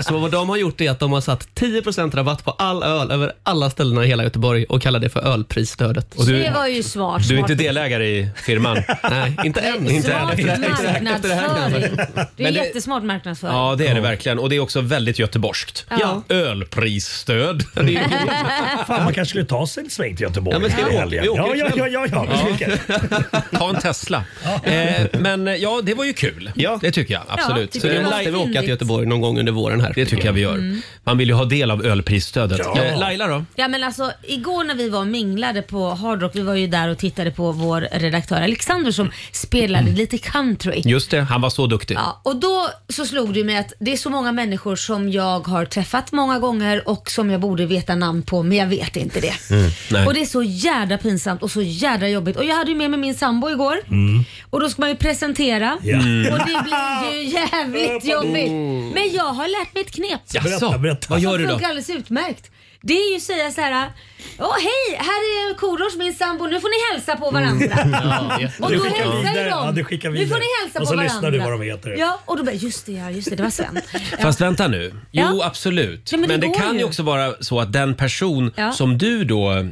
Så vad de har gjort är att de har satt 10 rabatt på all öl över alla ställena i hela Göteborg och kallar det för ölprisstödet. det var ju smart. du är smart. inte Delägare i firman? Nej, inte än. Inte än. Smart Exakt, efter det här marknadsföring. Det är Men det- jättesmart marknadsföring. Ja, det är det verkligen. Och det är också väldigt göteborgskt. Ja. Ölprisstöd. Fan, man kanske skulle ta sig en sväng till Göteborg. Ja, men ska vi- ja, vi åker ja, ja, ikväll. ja, ja, ja. Ja. vi åker. Ta en Tesla. Eh, men eh, ja, det var ju kul. Det tycker jag absolut. tycker det var fint. Göteborg någon gång under våren här. Det tycker jag vi gör. Mm. Man vill ju ha del av ölprisstödet. Ja. Eh, Laila då? Ja men alltså igår när vi var och minglade på Hard Rock, vi var ju där och tittade på vår redaktör Alexander som spelade Mm. lite country. Just det, han var så duktig. Ja, och då så slog det mig att det är så många människor som jag har träffat många gånger och som jag borde veta namn på men jag vet inte det. Mm. nej. Och det är så jädra pinsamt och så jädra jobbigt. Och jag hade ju med mig min sambo igår Mm. och då ska man ju presentera Ja. Mm. och det blir ju jävligt jobbigt. Men jag har lärt mig ett knep. Alltså, Jaså, Vad gör du Det då? funkar alldeles utmärkt. Det är ju att säga så här. Åh hej, här är Korosh, min sambo. Nu får ni hälsa Mm. på varandra. Och Du då skickar hälsar vidare. ju Ja, de. du skickar nu vidare. får ni hälsa Och på så varandra. lyssnar du vad de heter. Ja, och då bara, just det, ja, just det, det var Sven. Fast vänta nu. Jo, absolut. Ja, men men det, det går kan ju ju. också vara så att den person Ja. som du då eh,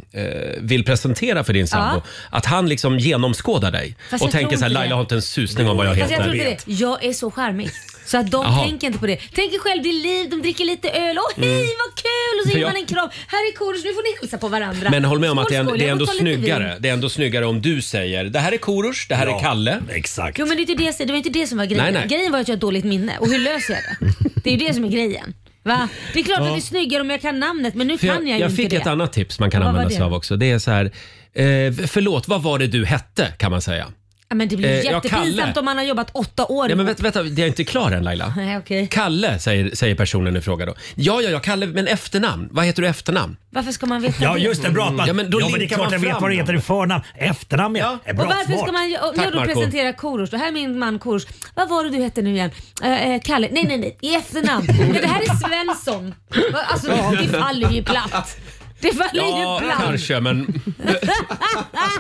vill presentera för din sambo, att han liksom genomskådar dig Fast och jag tänker tror så här, inte det. Laila har inte en susning om vad jag Fast heter. jag tror inte det. Jag är så charmig. Så att de Jaha. tänker inte på det. Tänk er själv, det är liv, de dricker lite öl. Åh hej, Mm. vad kul! Och För så ger jag- man en kram. Här är Korosh, nu får ni hälsa på varandra. Men håll med om Skål, att det är, skål, det är jag ändå går och tar lite snyggare. vin. Det är ändå snyggare om du säger det här är Korosh, det här är Kalle. Exakt. Jo men det, är inte det, jag säger. det var inte det som var grejen. Nej, nej. Grejen var att jag har ett dåligt minne. Och hur löser jag det? Det är ju det som är grejen. Va? Det är klart Ja. att det är snyggare om jag kan namnet men nu För kan jag, jag, ju jag inte fick det. ett annat tips man kan Vad var använda det? sig av också. Det är så här, eh, förlåt, vad var det du hette kan man säga. Ja, men det blir Eh, ja, jättepinsamt Kalle. om man har jobbat åtta år. Ja, men vänta, vänta, jag är inte klar än Laila. Nej, okej. Kalle säger, säger personen i fråga då. Ja, ja, ja, Kalle, men efternamn. Vad heter du i efternamn? Varför ska man veta Ja det? just det, bra att man... Ja, men då det är linkar klart man jag vet fram vad det dem. heter i förnamn. Efternamn ja. Är bra, och varför smart. ska man om jag då presentera Korosh, då här är min man Korosh. Vad var det du hette nu igen? Eh, eh, Kalle? Nej, nej, nej, i efternamn. Ja, det här är Svensson. Va, Alltså det faller ju platt. Det faller Ja, ju platt. kanske, men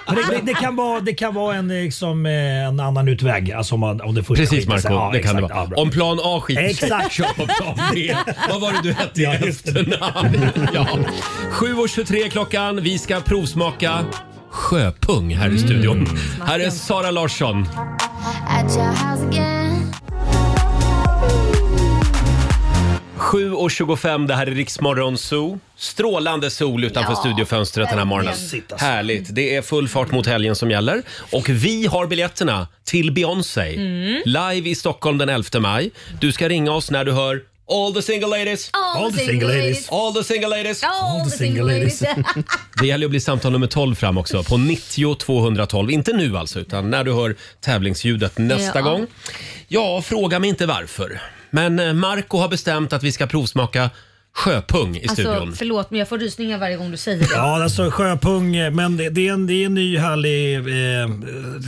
Men det, det, kan vara, det kan vara en, liksom, eh, en annan utväg. Alltså om, man, om det första precis skiter sig. Marco, Ja, det kan exakt. det vara. Ja, bra. Om plan A skiter Exakt. sig, kör på plan B. Vad var det du hette i efternamn? Ja. 7.23 klockan, vi ska provsmaka sjöpung här i studion. Här är Sara Larsson. At your house again. 7.25, det här är Riksmorgon Zoo. Strålande sol utanför Ja, studiofönstret den här morgonen. verkligen. Härligt. Det är full fart mot helgen som gäller. Och vi har biljetterna till Beyoncé. Mm. Live i Stockholm den 11 maj. Du ska ringa oss när du hör All the single ladies. All the single ladies. All the single ladies. All the single ladies. Det gäller att bli samtal nummer 12 fram också på 90 212. Inte nu alltså, utan när du hör tävlingsljudet nästa Ja. gång. Ja, fråga mig inte varför. Men eh, Marco har bestämt att vi ska provsmaka sjöpung i Alltså studion. förlåt men jag får rysningar varje gång du säger det. Ja, alltså sjöpung, men det, det, är, en, det är en ny härlig eh,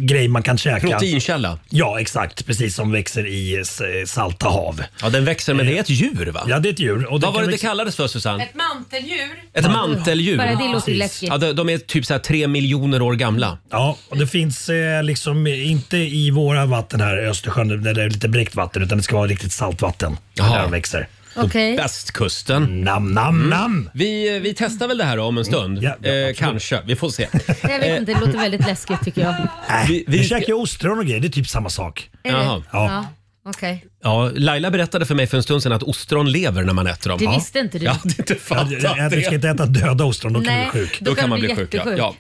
grej man kan käka. Proteinkälla. Ja, exakt. Precis som växer i eh, salta hav. Eh, Ja, den växer, men det är ett djur va? Ja, det är ett djur. Och Vad kan var det det växa- kallades för Susanne? Ett manteldjur. Ett manteldjur. Bara det låter ju Precis. läskigt. Ja, de, de är typ så här tre miljoner år gamla. Ja, och det finns eh, liksom inte i våra vatten här i Östersjön där det är lite bräckt vatten utan det ska vara riktigt saltvatten. Där de växer. Mm. Okej. Västkusten. Nam, nam, nam. Mm. Vi, eh, vi testar väl det här om en stund. eh, kanske, vi får se. Jag vet inte, det Eh. låter väldigt läskigt tycker jag. Eh, Äh, vi, vi ska- käkar ju ostron och grejer, det är typ samma sak. Är det? Jaha. Ja. Okej. Ja, Laila berättade för mig för en stund sedan att ostron lever när man äter dem. Det visste inte du. Jag hade inte fattat Jag, jag, jag, det. ska inte äta döda ostron, då kan Nej, du bli sjuk. då Då kan kan man du bli bli sjuk, ja. jättesjuk. Ja.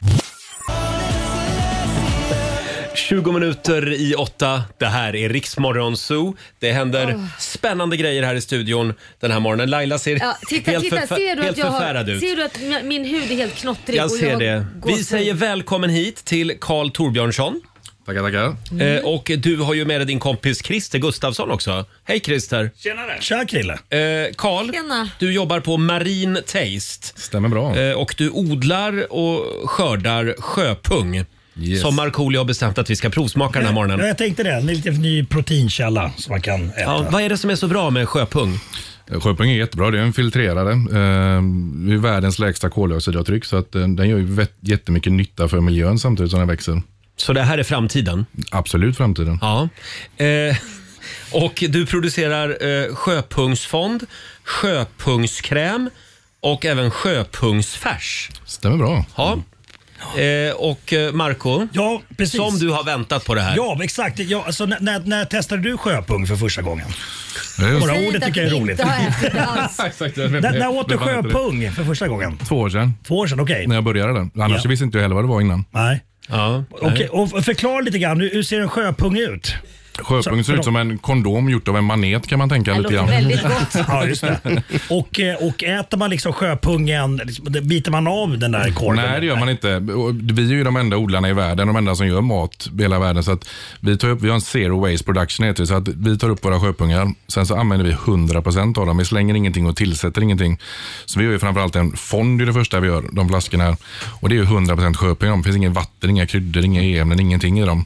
20 minuter i åtta. Det här är Riksmorgon Zoo. Det händer spännande grejer här i studion den här morgonen. Laila ser Ja, titta, helt, titta, förfä- ser du att helt jag förfärad har, ut. Ser du att min- min hud är helt knottrig? Jag och ser det. går Vi så- säger välkommen hit till Karl Torbjörnsson. Tackar, tackar. Mm. Eh, och du har ju med dig din kompis Christer Gustafsson också. Hej Christer! Tjenare! Tja Krille! Eh, Karl, du jobbar på Marine Taste. Stämmer bra. Eh, och du odlar och skördar sjöpung. Som Markoolio har bestämt att vi ska provsmaka den här morgonen. Ja, jag tänkte det. En lite ny proteinkälla som man kan äta. Ja, vad är det som är så bra med sjöpung? Eh, Sjöpung är jättebra, det är en filtrerare. Eh, Det är världens lägsta koldioxidavtryck så att eh, den gör ju vet- jättemycket nytta för miljön samtidigt som den växer. Så det här är framtiden? Absolut framtiden. Ja. Eh, och du producerar eh, sjöpungsfond, sjöpungskräm och även sjöpungsfärs. Stämmer bra. Ja. Eh, och eh, Marco, Mm. ja, precis. som du har väntat på det här. Ja, exakt. Ja, alltså, när, när, när testade du sjöpung för första gången? just det. Bara ordet tycker jag är roligt. Exakt, jag vet inte. när, när åt du Jag vet inte det. sjöpung för första gången? Två år sedan. Två år sedan, okej. När jag började den. Annars Ja. visste inte jag heller vad det var innan. Nej. Ja, Okej, och förklara lite grann. Hur hur ser en sjöpung ut? Sjöpung Så- ser ut som en kondom gjort av en manet kan man tänka lite grann. ja, just det. Och, eh, och äter man liksom sjöpungen, liksom, det- biter man av den där korven? Nej, det gör man inte. Och Vi är ju de enda odlarna i världen, de enda som gör mat i hela världen. Så att vi, tar upp, vi har en zero waste production, heter det, så att vi tar upp våra sjöpungar. Sen så använder vi 100% av dem. Vi slänger ingenting och tillsätter ingenting. Så vi gör ju framförallt en fond, det är det första vi gör, de flaskorna. här. Och det är ju 100% sjöpung. i dem. Det finns inget vatten, inga kryddor, inga e-ämnen, ingenting i dem.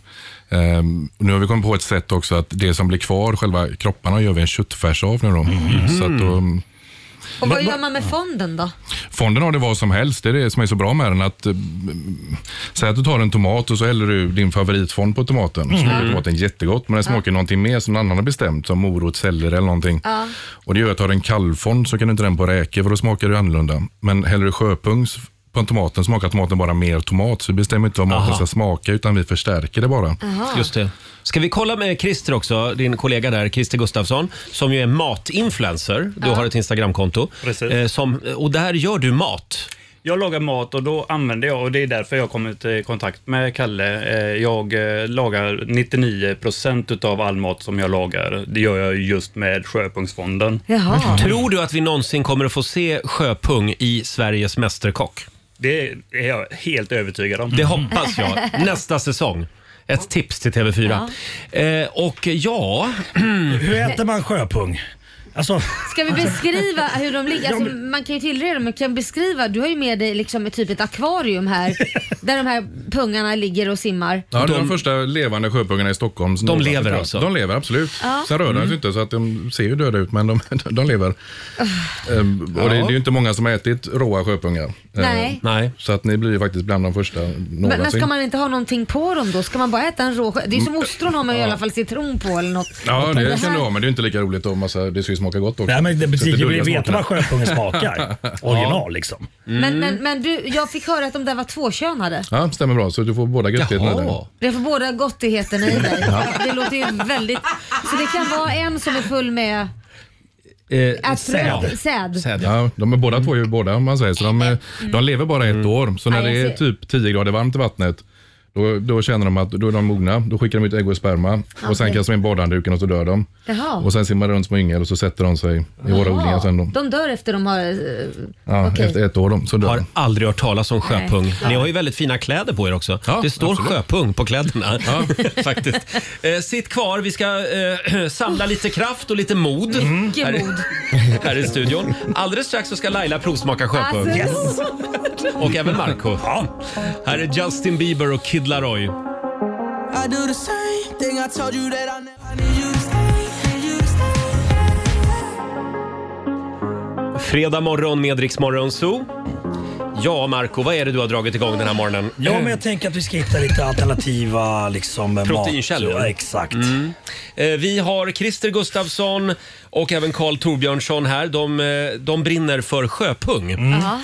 Ehm, nu har vi kommit på ett sätt också att det som blir kvar, själva kropparna, gör vi en köttfärs av nu. Då. Så att ehm, då Och vad gör man med fonden då? Fonden har det vad som helst. Det är det som är så bra med den. Att, eh, säg att du tar en tomat och så häller du din favoritfond på tomaten. Så Mm. smakar tomaten jättegott, men den smakar någonting mer som någon annan har bestämt. Som morot, selleri eller någonting. Ja. Och det gör att tar du en kallfond så kan du inte den på räkor för då smakar det annorlunda. Men häller du sjöpung s- på en tomaten smakar tomaten bara mer tomat. Så vi bestämmer inte vad maten Aha. ska smaka utan vi förstärker det bara. Aha. Just det. Ska vi kolla med Christer också, din kollega där, Christer Gustafsson, som ju är matinfluencer. Du Ja. har ett Instagramkonto. Precis. Eh, som, och där gör du mat. Jag lagar mat och då använder jag, och det är därför jag har kommit i kontakt med Kalle. Eh, Jag eh, lagar 99% utav all mat som jag lagar. Det gör jag just med Sjöpungsfonden. Tror du att vi någonsin kommer att få se sjöpung i Sveriges Mästerkock? Det är jag helt övertygad om. Det hoppas jag. Nästa säsong. Ett tips till TV4. Eh, och ja... Hur äter man sjöpung? Alltså... Ska vi beskriva hur de ligger? Alltså, man kan ju tillreda dem, men kan beskriva? Du har ju med dig liksom ett typ ett akvarium här där de här pungarna ligger och simmar. Ja, de, de första levande sjöpungarna i Stockholm. De Några- lever alltså? De lever absolut. Ja. Sen rör de sig Mm. inte så att de ser ju döda ut, men de, de lever. Ehm, och det, det är ju inte många som har ätit råa sjöpungar. Ehm, Nej. Så att ni blir ju faktiskt bland de första Men, någonsin. men ska man inte ha någonting på dem då? Ska man bara äta en rå Det är ju som Mm. ostron har man ju i alla fall citron på eller något. Ja, det, här- kan du ha, men det är ju inte lika roligt om massa, det ska ju smaka gott också. Nej, men det- Så att precis, det döljer blir- vet smakerna. vad sjöpungen smakar. Original, liksom. Men, Mm. men, men du, jag fick höra att de där var tvåkönade. Ja, stämmer bra. Så du får båda grattigheterna där. Det får båda gottigheterna i dig. Ja. Det låter ju väldigt... Så det kan vara en som är full med... Eh, Att säd. säd. Mm. Ja, de är båda två ju båda om man säger. Så de, är, de lever bara Mm. ett år. Så när Ja, jag det är ser. typ 10 grader varmt i vattnet, då, då känner de att då är de mogna. Då skickar de ut ägg och sperma och sen Okej. kastar de in badhandduken och så dör de. Jaha. Och sen simmar de runt små yngel och så sätter de sig i våra Jaha. odlingar sen. Då. De dör efter de har... eh, Ja, okej. Efter ett år då, så dör Har aldrig hört talas om sjöpung. Nej. Ni har ju väldigt fina kläder på er också. det står absolut. sjöpung på kläderna. faktiskt. Eh, sitt kvar, vi ska eh, samla lite kraft och lite mod. Mm. Mycket Här i- mod. Här i studion. Alldeles strax så ska Laila provsmaka sjöpung. Alltså, Och även Marco Här är Justin Bieber och Kid Laroi. I do the same thing I told you that I never Fredag morgon med Rix Morgon Zoo. Ja, Marco, vad är det du har dragit igång den här morgonen? Ja, men jag tänker att vi ska hitta lite alternativa liksom, mat. Proteinkällor. Ja, exakt. Mm. Eh, Vi har Christer Gustafsson och även Karl Torbjörnsson här. De, eh, de brinner för sjöpung.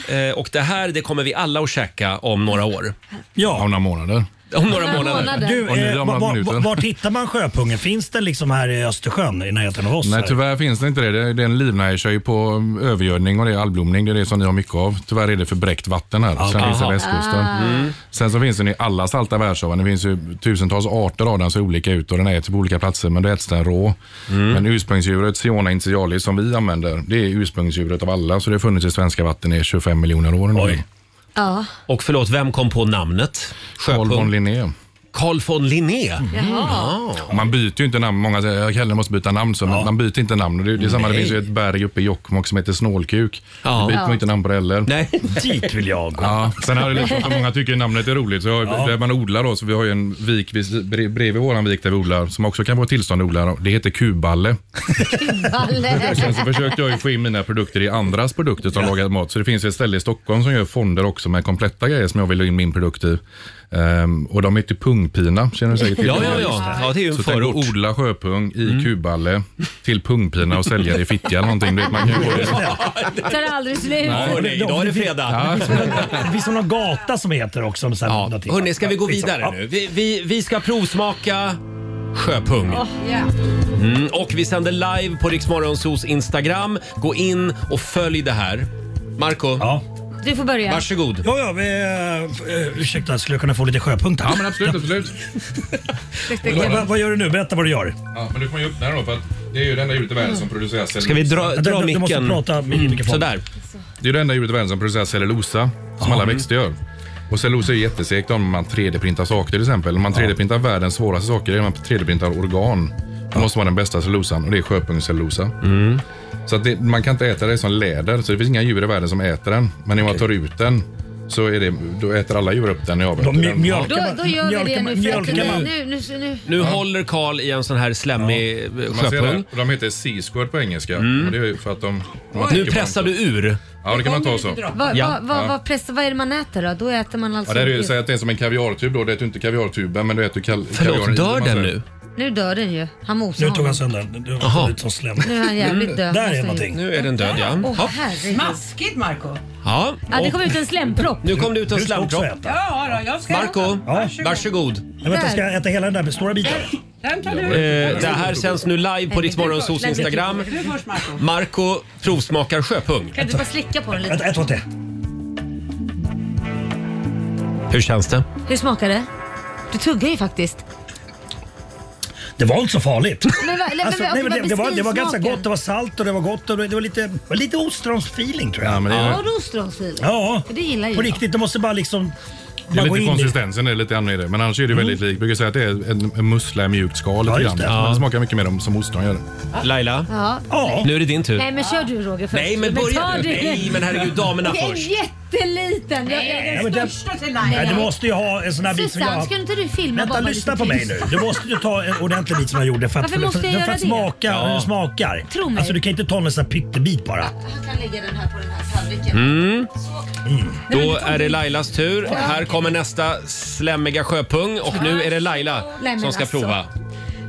Jaha. Eh, Och det här det kommer vi alla att käka om några år. Ja. Om några månader. Om några månader. Du, eh, var, var, vart hittar man sjöpungen? Finns den liksom här i Östersjön i närheten av oss? Nej, här? tyvärr finns det inte det. det. Den livnär sig ju på mm, övergödning och det är algblomning. Det är det som ni har mycket av. Tyvärr är det för bräckt vatten här. Ah, Sen okej. finns den Aha. västkusten. Ah. Mm. Sen så finns den i alla salta världshavar. Det finns ju tusentals arter av den som ser olika ut och den äts på olika platser men då äts den rå. Men ursprungsdjuret Siona initialis som vi använder, det är ursprungsdjuret av alla. Så det har funnits i svenska vatten i 25 miljoner år nu. Ja. Och förlåt, vem kom på namnet? Carl von Linné. Carl von Linné. Mm-hmm. Jaha. Man byter ju inte namn. Många säger jag kallar måste byta namn, så, men man byter inte namn. Och Det, det, är samma, det Nej. finns ju ett berg uppe i Jokkmokk som heter Snålkuk. Ja. Det byter man Ja. inte namn på det heller. Nej. Dit vill jag gå. Ja. Sen har det liksom, för många tycker ju namnet är roligt. Så jag, Där man odlar då, så vi har ju en vik vid, bre- bredvid våran vik där vi odlar, som också kan vara tillstånd att odla. Det heter kuballe. Sen så försökte jag ju få in mina produkter i andras produkter som lagar mat. Så det finns ju ett ställe i Stockholm som gör fonder också med kompletta grejer som jag vill ha in min produkt i. Ehm, och de heter pungpina, känner du säkert till. Ja, ja, ja. Ja, det är ju en så tänk att förort. Mm. odla sjöpung i kuballe till pungpina och sälja det i Fittja eller någonting. Du vet, Man kan ju få det. Tar aldrig slut. hörni, idag är det fredag. Det finns någon gata som heter också. om Så här ja. Hörni, ska vi gå vidare nu? Vi, vi, vi ska provsmaka sjöpung. Mm, och vi sänder live på Riksmorgonsos Instagram. Gå in och följ det här. Marco, Du får börja. varsågod. Ja, ja, vi, uh, ursäkta, skulle jag kunna få lite sjöpunkter? Ja, men absolut, absolut. vad, vad, vad gör du nu? Berätta vad du gör. Ja, men du får ju öppna den då, för att det är ju det enda djuret i världen som producerar cellulosa. Ska vi dra- Vänta, dra du- du måste micken? prata med Mm, mikrofonen. sådär. Mm. Det är ju det enda djuret i världen som producerar cellulosa, som alla växter gör. Och cellulosa är ju jättesegt om man 3D-printar saker till exempel. Om man 3D-printar världens svåraste saker, det är när man 3D-printar organ. Det måste vara den bästa cellulosan och det är sjöpungscellulosa. Mm. Så att det, man kan inte äta det som läder, så det finns inga djur i världen som äter den. Men när man tar ut den så är det, då äter alla djur upp den i avrätten. mj- mjölkar Då, då gör vi det nu. för att- mjölkar man- nu, nu, nu. Nu håller Karl i en sån här slemmig eh, Man ser sjöpung. Mm. det. Och De heter Seasquad på engelska. Och det är ju för att de, de Nu pressar du ur. Ja, det kan man ta så. Vad vad Ja. vad- vad press- vad är det man äter då? Då äter man Ja, alltså... det är ju, säg att det är som en kaviartub då. Det är ju inte kaviartuben, men du äter kal- Förlåt, kaviaren i, dör om man den säger. nu? Nu dör den ju. Han mosar Nu tog han honom. sönder den. Du Jaha. har ut som slem. Nu är han jävligt död. Där är Alltså, någonting. Nu är den död ja. Åh Ja. herregud. Maskigt Marco ja. Ja, det Och kom ut en slempropp. Nu kom det ut en Du ska också slamkropp. äta. Ja, då, jag ska Marco, varsågod. Nej, vänta, ska jag äta hela den där stora biten? Den tar du. Eh, det här sänds nu live på Rix Morgonzos Instagram. Du först Marco Marco provsmakar sjöpung. Kan du bara slicka på den Vänta, lite? ett, två, tre. Hur känns det? Hur smakar det? Du tuggar ju faktiskt. Det var inte så farligt. Men va- nej, men Alltså, okej, nej, men vad det, det, var, det var beskrivs ganska smaken? gott. Det var salt och det var gott och det det var lite, det var lite ostronsfeeling tror jag. Ja, men det är- Har du ostronsfil? Ja. För det gillar ju På jag. riktigt, det måste bara liksom... Det bara är gå lite in i. konsistensen är lite annorlunda. Men annars är det Mm. ju väldigt likt. Jag brukar säga att det är en, en mussla i mjukt skal. Ja, lite just grann. det. Men det smakar mycket mer om- som ostron gör det. Laila, Ja. nu är det din tur. Nej men kör du Roger först. Nej, men börja ta du. det. Nej, men herregud, damerna Det är först. jätteliten. Jag, jag, Ja, men det, till nej, du måste ju ha en sån här bit som jag Susanne, har. ska inte du filma Vänta, bara vad du lyssna ska på mig nu. tysta? Du måste ju ta en ordentlig bit som jag gjorde för att, Varför måste för, jag för göra att det? smaka hur Ja. den smakar. Tro mig. Alltså du kan inte ta en sån här pyttebit bara. Han kan lägga den här på den här tallriken. Mm. Då är det Lailas tur. Här kommer nästa slemmiga sjöpung och nu är det Laila Nej, men som ska alltså. prova.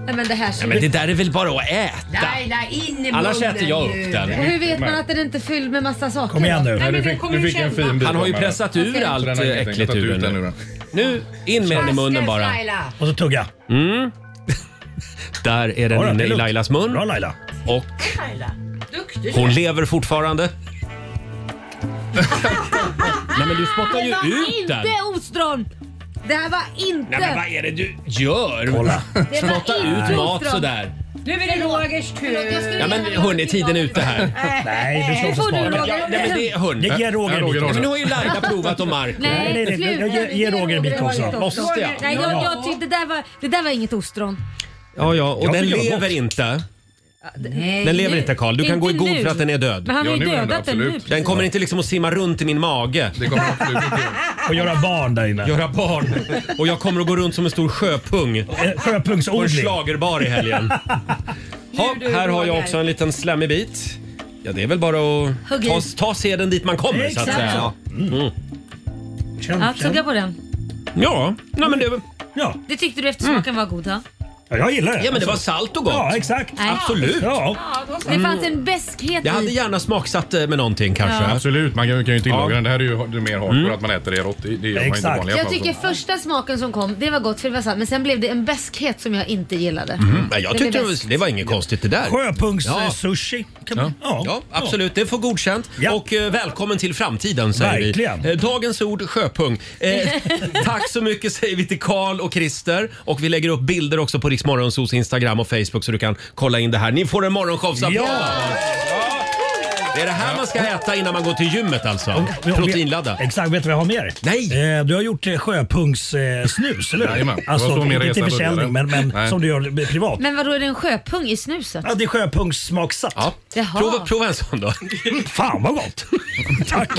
Nej men det här ser Nej, men det där är väl bara att äta? Laila, in i Annars munnen äter jag nu. upp den. Och hur vet man att den inte är fylld med massa saker? Kom igen nu. Nej, men den kommer ju känna. bit Han har ju av den. pressat ur Okej. allt Den har jag inte äckligt tänkt att ur ta ut den den nu. ur Nu, in med den i munnen bara. Laila. Och så tugga. Mm. Där är den Ja, det är inne i lugnt. Lailas mun Bra Laila. och Laila. Duktig du hon är. lever fortfarande. Nej men du spottar ju ut den. Inte ostron! Det här var inte... Nej men vad är det du gör? Kolla. Det var Spotta inte ut mat ostron. sådär. Nu är det Rogers Förlåt, jag tur. skulle Ja men gärna hörni, vilja tiden ha är den. ute här. Nej, du ska får också du smaka. Roger. Ja, nej, men det är hörni. Jag ger Ja, Roger en Roger, bit Roger. också. Men nu har ju Laila provat och Marco. Nej, Nej, nej, nej. sluta. Jag ger- ger Roger en bit också. Måste jag? Nej, jag, jag tyckte det där var, det där var inget ostron. Ja, ja, och Jag den tycker det var lever inte. Nej. Den lever inte Karl. Du kan gå i Inte god nu. för att den är död. Men han har Ja, ju nu är den dödat det, den, nu. absolut. Den kommer inte liksom att simma runt i min mage. Det kommer absolut inte Och göra barn där inne. Göra barn. Och jag kommer att gå runt som en stor sjöpung. Eh, på en Sjöpungsodling. schlagerbar i helgen. ha, du, här har jag Roger. också en liten slemmig bit. Ja, det är väl bara att Hugg i. ta, ta seden dit man kommer så att Exakt. säga. Mm. Känn, Ja, känn. tugga på den. Ja, nej, men, Mm. det, Ja, Det tyckte du eftersmaken var god, ja? ja, jag gillar det. ja, men det var salt och gott. Ja, exakt. Nej. Absolut. Ja. Det fanns en beskhet Jag hade i. gärna smaksatt det med någonting kanske. Absolut, man kan, kan ju tillaga Ja. Mm. den. Det här är ju det är mer hardcore att man äter det rått. Det, det gör man ju inte i Exakt. vanliga Jag fall, tycker så. första smaken som kom, det var gott för det var salt. Men sen blev det en beskhet som jag inte gillade. Mm, men jag Den tyckte är det var, bäst. det var inget konstigt det där. Ja. Sjöpungs-sushi. Ja. Ja, absolut. Det får godkänt. Ja. Och eh, välkommen till framtiden säger Verkligen. vi. Eh, dagens ord sjöpung. Eh, tack så mycket säger vi till Karl och Christer. Och vi lägger upp bilder också på Riksmorgonsos Instagram och Facebook så du kan kolla in det här. Ni får en morgonshowsapplåd. Ja. Det är det här man ska äta innan man går till gymmet alltså. Proteinladdat. Exakt, vet du vad jag har med dig? Nej! Du har gjort eh, sjöpungssnus, eh, snus, eller hur? Jajamän, det var så Alltså, min inte till resa försäljning, men, började. men Nej. som du gör privat. Men vadå, är det en sjöpung i snuset? Ja, det är sjöpungssmaksatt. Ja. Jaha. Prova- en sån då. Fan vad gott! Tack!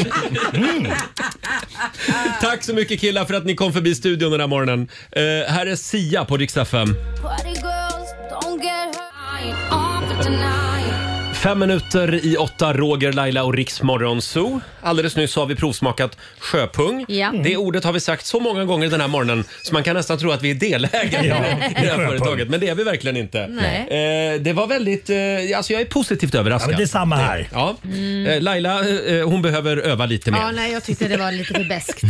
Tack så mycket killar för att ni kom förbi studion den här morgonen. Eh, här är Sia på Rix FM. Fem minuter i åtta, Roger, Laila och Riks Morgonzoo. Alldeles nyss har vi provsmakat sjöpung. Ja. Det ordet har vi sagt så många gånger den här morgonen så man kan nästan tro att vi är delägare Ja, i det det är här sjöpung. företaget. Men det är vi verkligen inte. Nej. Eh, det var väldigt... Eh, alltså jag är positivt överraskad. Ja, men det är samma här. Ja. Mm. Eh, Laila, eh, hon behöver öva lite mer. Ja, nej, jag tyckte det var lite för beskt.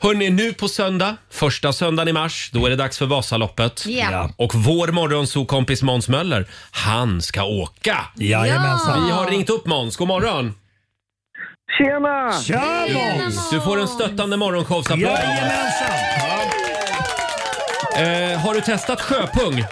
Hörni, nu på söndag, första söndagen i mars, då är det dags för Vasaloppet. Ja. Ja. Och vår morgonsokompis Måns Möller, han ska åka! Jajamensan. Vi har ringt upp Måns, god morgon! Tjena! Tja Måns! Du får en stöttande morgonshowsapplåd. Jajamensan! Eh, har du testat sjöpung? Eh,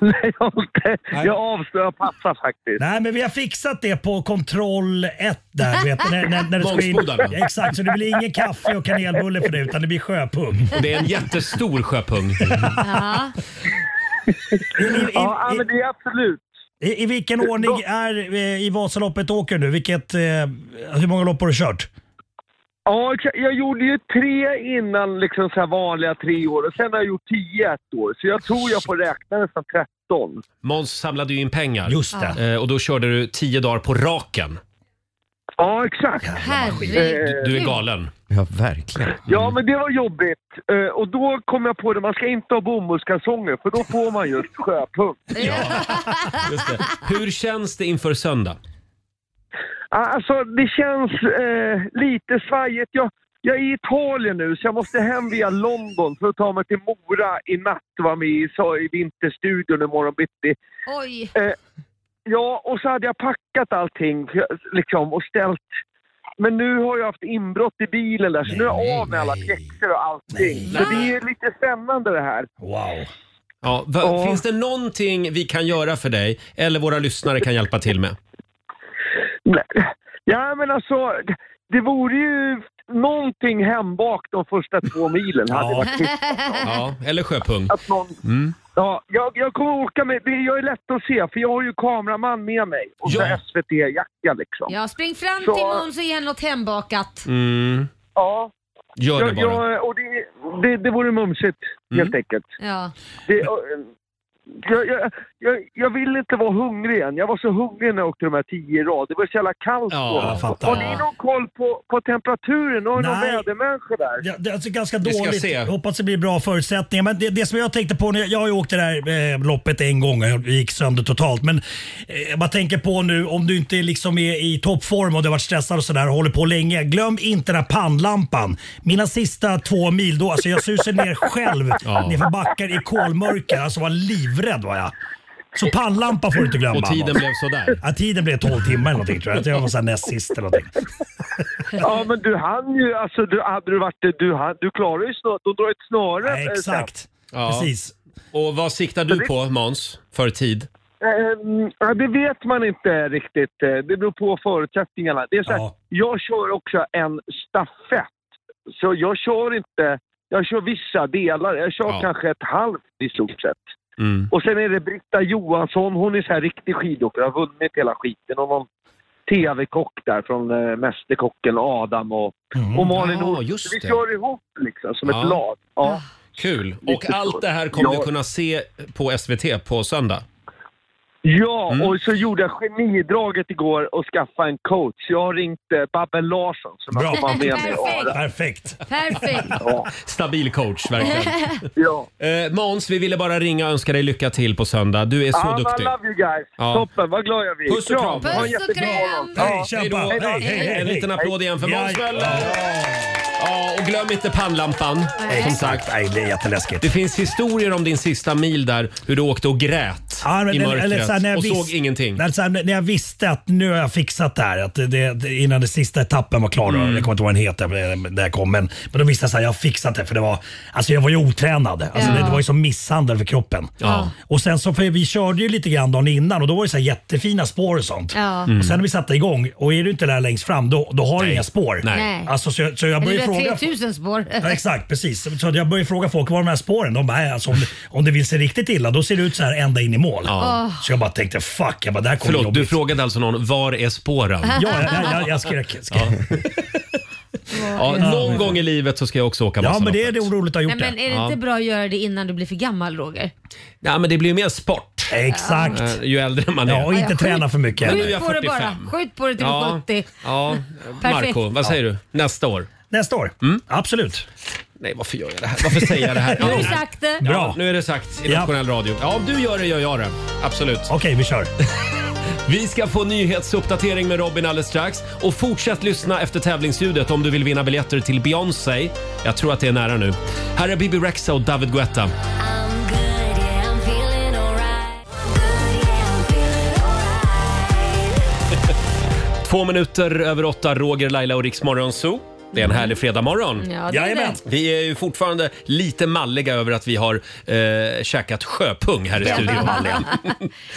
nej, jag, har inte- jag avslöjar passa faktiskt. Nej, men vi har fixat det på kontroll 1 där. du Vet, när, när, när det ska in. Mångsbodarna. Ja, Exakt, så det blir ingen kaffe och kanelbulle för det utan det blir sjöpung. Och det är en jättestor sjöpung. Ja. ja, men det är absolut. I, I vilken ordning är eh, i Vasaloppet åker du? Vilket, eh, hur många lopp har du kört? Ja, exakt. jag gjorde ju tre innan liksom så här vanliga tre år och sen har jag gjort tio ett år. Så jag tror jag får räkna nästan 13. Måns samlade ju in pengar. Just det. Eh, och då körde du tio dagar på raken. Ja, exakt. Du, du är galen. Ja, verkligen. Ja, men det var jobbigt. Eh, Och då kom jag på det, man ska inte ha bomullskalsonger för då får man just sjöpung. Just det. Hur känns det inför söndag? Alltså, det känns eh, lite svajigt. Jag, jag är i Italien nu, så jag måste hem via London för att ta mig till Mora i natt och vara med i, så, i Vinterstudion imorgon bitti. Oj! Eh, ja, och så hade jag packat allting för jag- liksom, och ställt. Men nu har jag haft inbrott i bilen där, så nu är jag av med alla pjäxor och allting. Så det är lite spännande det här. Wow. Ja, va, Finns det någonting vi kan göra för dig eller våra lyssnare kan hjälpa till med? Ja, men alltså, det vore ju någonting hembakt de första två milen. Hade varit ja, eller sjöpung. Att någon... Ja, jag, jag kommer åka med, det, jag är lätt att se för jag har ju kameraman med mig och så SVT-jacka liksom. Ja, spring fram Så- till Måns och ge henne något hembakat. Mm. Ja. Gör det jag, bara. Jag, och det, det, det vore mumsigt helt enkelt. Ja. Det, och, eh, jag, jag, jag, jag vill inte vara hungrig än. Jag var så hungrig när jag åkte de här tio i rad. Det var så jävla kallt Ja, jag fattar. Har ni någon koll på, på temperaturen? Har ni någon Nej. vädermänniska där? Ja, det är alltså ganska Vi ska dåligt. se. Jag Hoppas det blir bra förutsättningar. Men det, det som jag tänkte på, när jag, jag har ju åkt det där eh, loppet en gång och jag gick sönder totalt. Men eh, man tänker på nu om du inte liksom är i toppform och du har varit stressad och sådär och håller på länge. Glöm inte den här pannlampan. Mina sista två mil då, alltså jag susade ner själv Ja. nerför backar i kolmörker. Alltså var livrädd var jag. Så pannlampa får du inte glömma. Och tiden Amanda. blev sådär. Ja, tiden blev 12 timmar eller någonting tror jag. Jag tror Jag var såhär näst sist eller någonting. Ja, men du hann ju, alltså du, hade du varit det, du, hann, du klarade ju snart, de drar ett snöre. eh, sen. Ja. Precis. Och vad siktar du på Måns för tid? Ehm, ja, det vet man inte riktigt. Eh, Det beror på förutsättningarna. Det är så här, Jag kör också en stafett. Så jag kör inte, jag kör vissa delar. Jag kör kanske ett halvt i stort sett. Mm. Och sen är det Britta Johansson, hon är så här riktig skidåkare, har vunnit hela skiten. Och någon TV-kock där från eh, Mästerkocken Adam och, och Malin Mm. Ja, Olsson. just Vi det. kör ihop liksom som Ja. ett lag. Ja. Kul. Och Lite så. allt det här kommer Ja. du kunna se på SVT på söndag. Ja, Mm. och så gjorde jag genidraget igår och skaffade en coach. Jag har ringt eh, Babben Larsson som Bra. jag kommer ha med mig. Perfekt. Perfekt. Perfekt. Stabil coach, verkligen. Eh, Måns, vi ville bara ringa och önska dig lycka till på söndag. Du är så Ja, men duktig. Ah, I love you guys. Ja. Toppen, vad glad jag blir. Puss och kram. Ha en Puss och jättebra kram. morgon. Hej, Ja. kämpa. Hej då. Hej, hej, hej. En liten applåd igen för Måns Möller. Ja, och glöm inte pannlampan. Nej. Som sagt. Nej, det är jätteläskigt. Det finns historier om din sista mil där, hur du åkte och grät. Ja, men- i mörkret eller så här, när jag och visst- såg ingenting. När, så här, när jag visste att nu har jag fixat det här, att det, det, det- innan den sista etappen var klar, då, Mm. jag kommer inte ihåg vad den heter, men- där jag kom, men, men då visste jag att jag har fixat det för det var, alltså jag var ju otränad. Alltså Ja. det, det var ju som misshandel för kroppen. Ja. Och sen så, för vi körde ju lite grann dagen innan och då var det så här jättefina spår och sånt. Ja. Mm. Och sen när vi satte igång och är du inte där längst fram då, då har du inga spår. Nej. Nej. Alltså, så, jag- så jag Eller började du fråga. vet 3000 spår. Ja, exakt, precis. Så jag började fråga folk, var de här spåren? De bara, "Nej, alltså, om, det, om det vill se riktigt illa, då ser det ut så här ända in i mål. Ja. Så jag bara tänkte, fuck, jag bara, det här kommer bli Förlåt, du jobbigt. frågade alltså någon, var är spåren? Ja, jag, jag, jag skrek. skrek. Ja, någon gång i livet så ska jag också åka Ja, men Vasaloppet. det är det roligt att ha gjort Nej, men är det Ja. inte bra att göra det innan du blir för gammal Roger? Ja, men det blir ju mer sport. Exakt. Eh, Ju äldre man är. Ja, och inte Ja, träna skjut- för mycket. Men nu är jag Skjut på det 45. bara. Skjut på det till du är Ja. 70. Ja, Perfekt. Marco, vad säger du? Nästa år? Mm. Nästa år? Absolut. Nej, varför gör jag det här? Varför säger jag det här? Nu har du sagt det. Ja, nu är det sagt i nationell radio. Ja, om du gör det gör jag det. Absolut. Okej, vi kör. vi ska få nyhetsuppdatering med Robin alldeles strax. Och fortsätt lyssna efter tävlingsljudet om du vill vinna biljetter till Beyoncé. Jag tror att det är nära nu. Här är Bibi Rexa och David Guetta. Två minuter över åtta, Roger, Laila och Riksmorgon Zoo. Det är en härlig fredagmorgon. Ja, det är Jajamän. det. Vi är ju fortfarande lite malliga över att vi har eh, käkat sjöpung här i studion.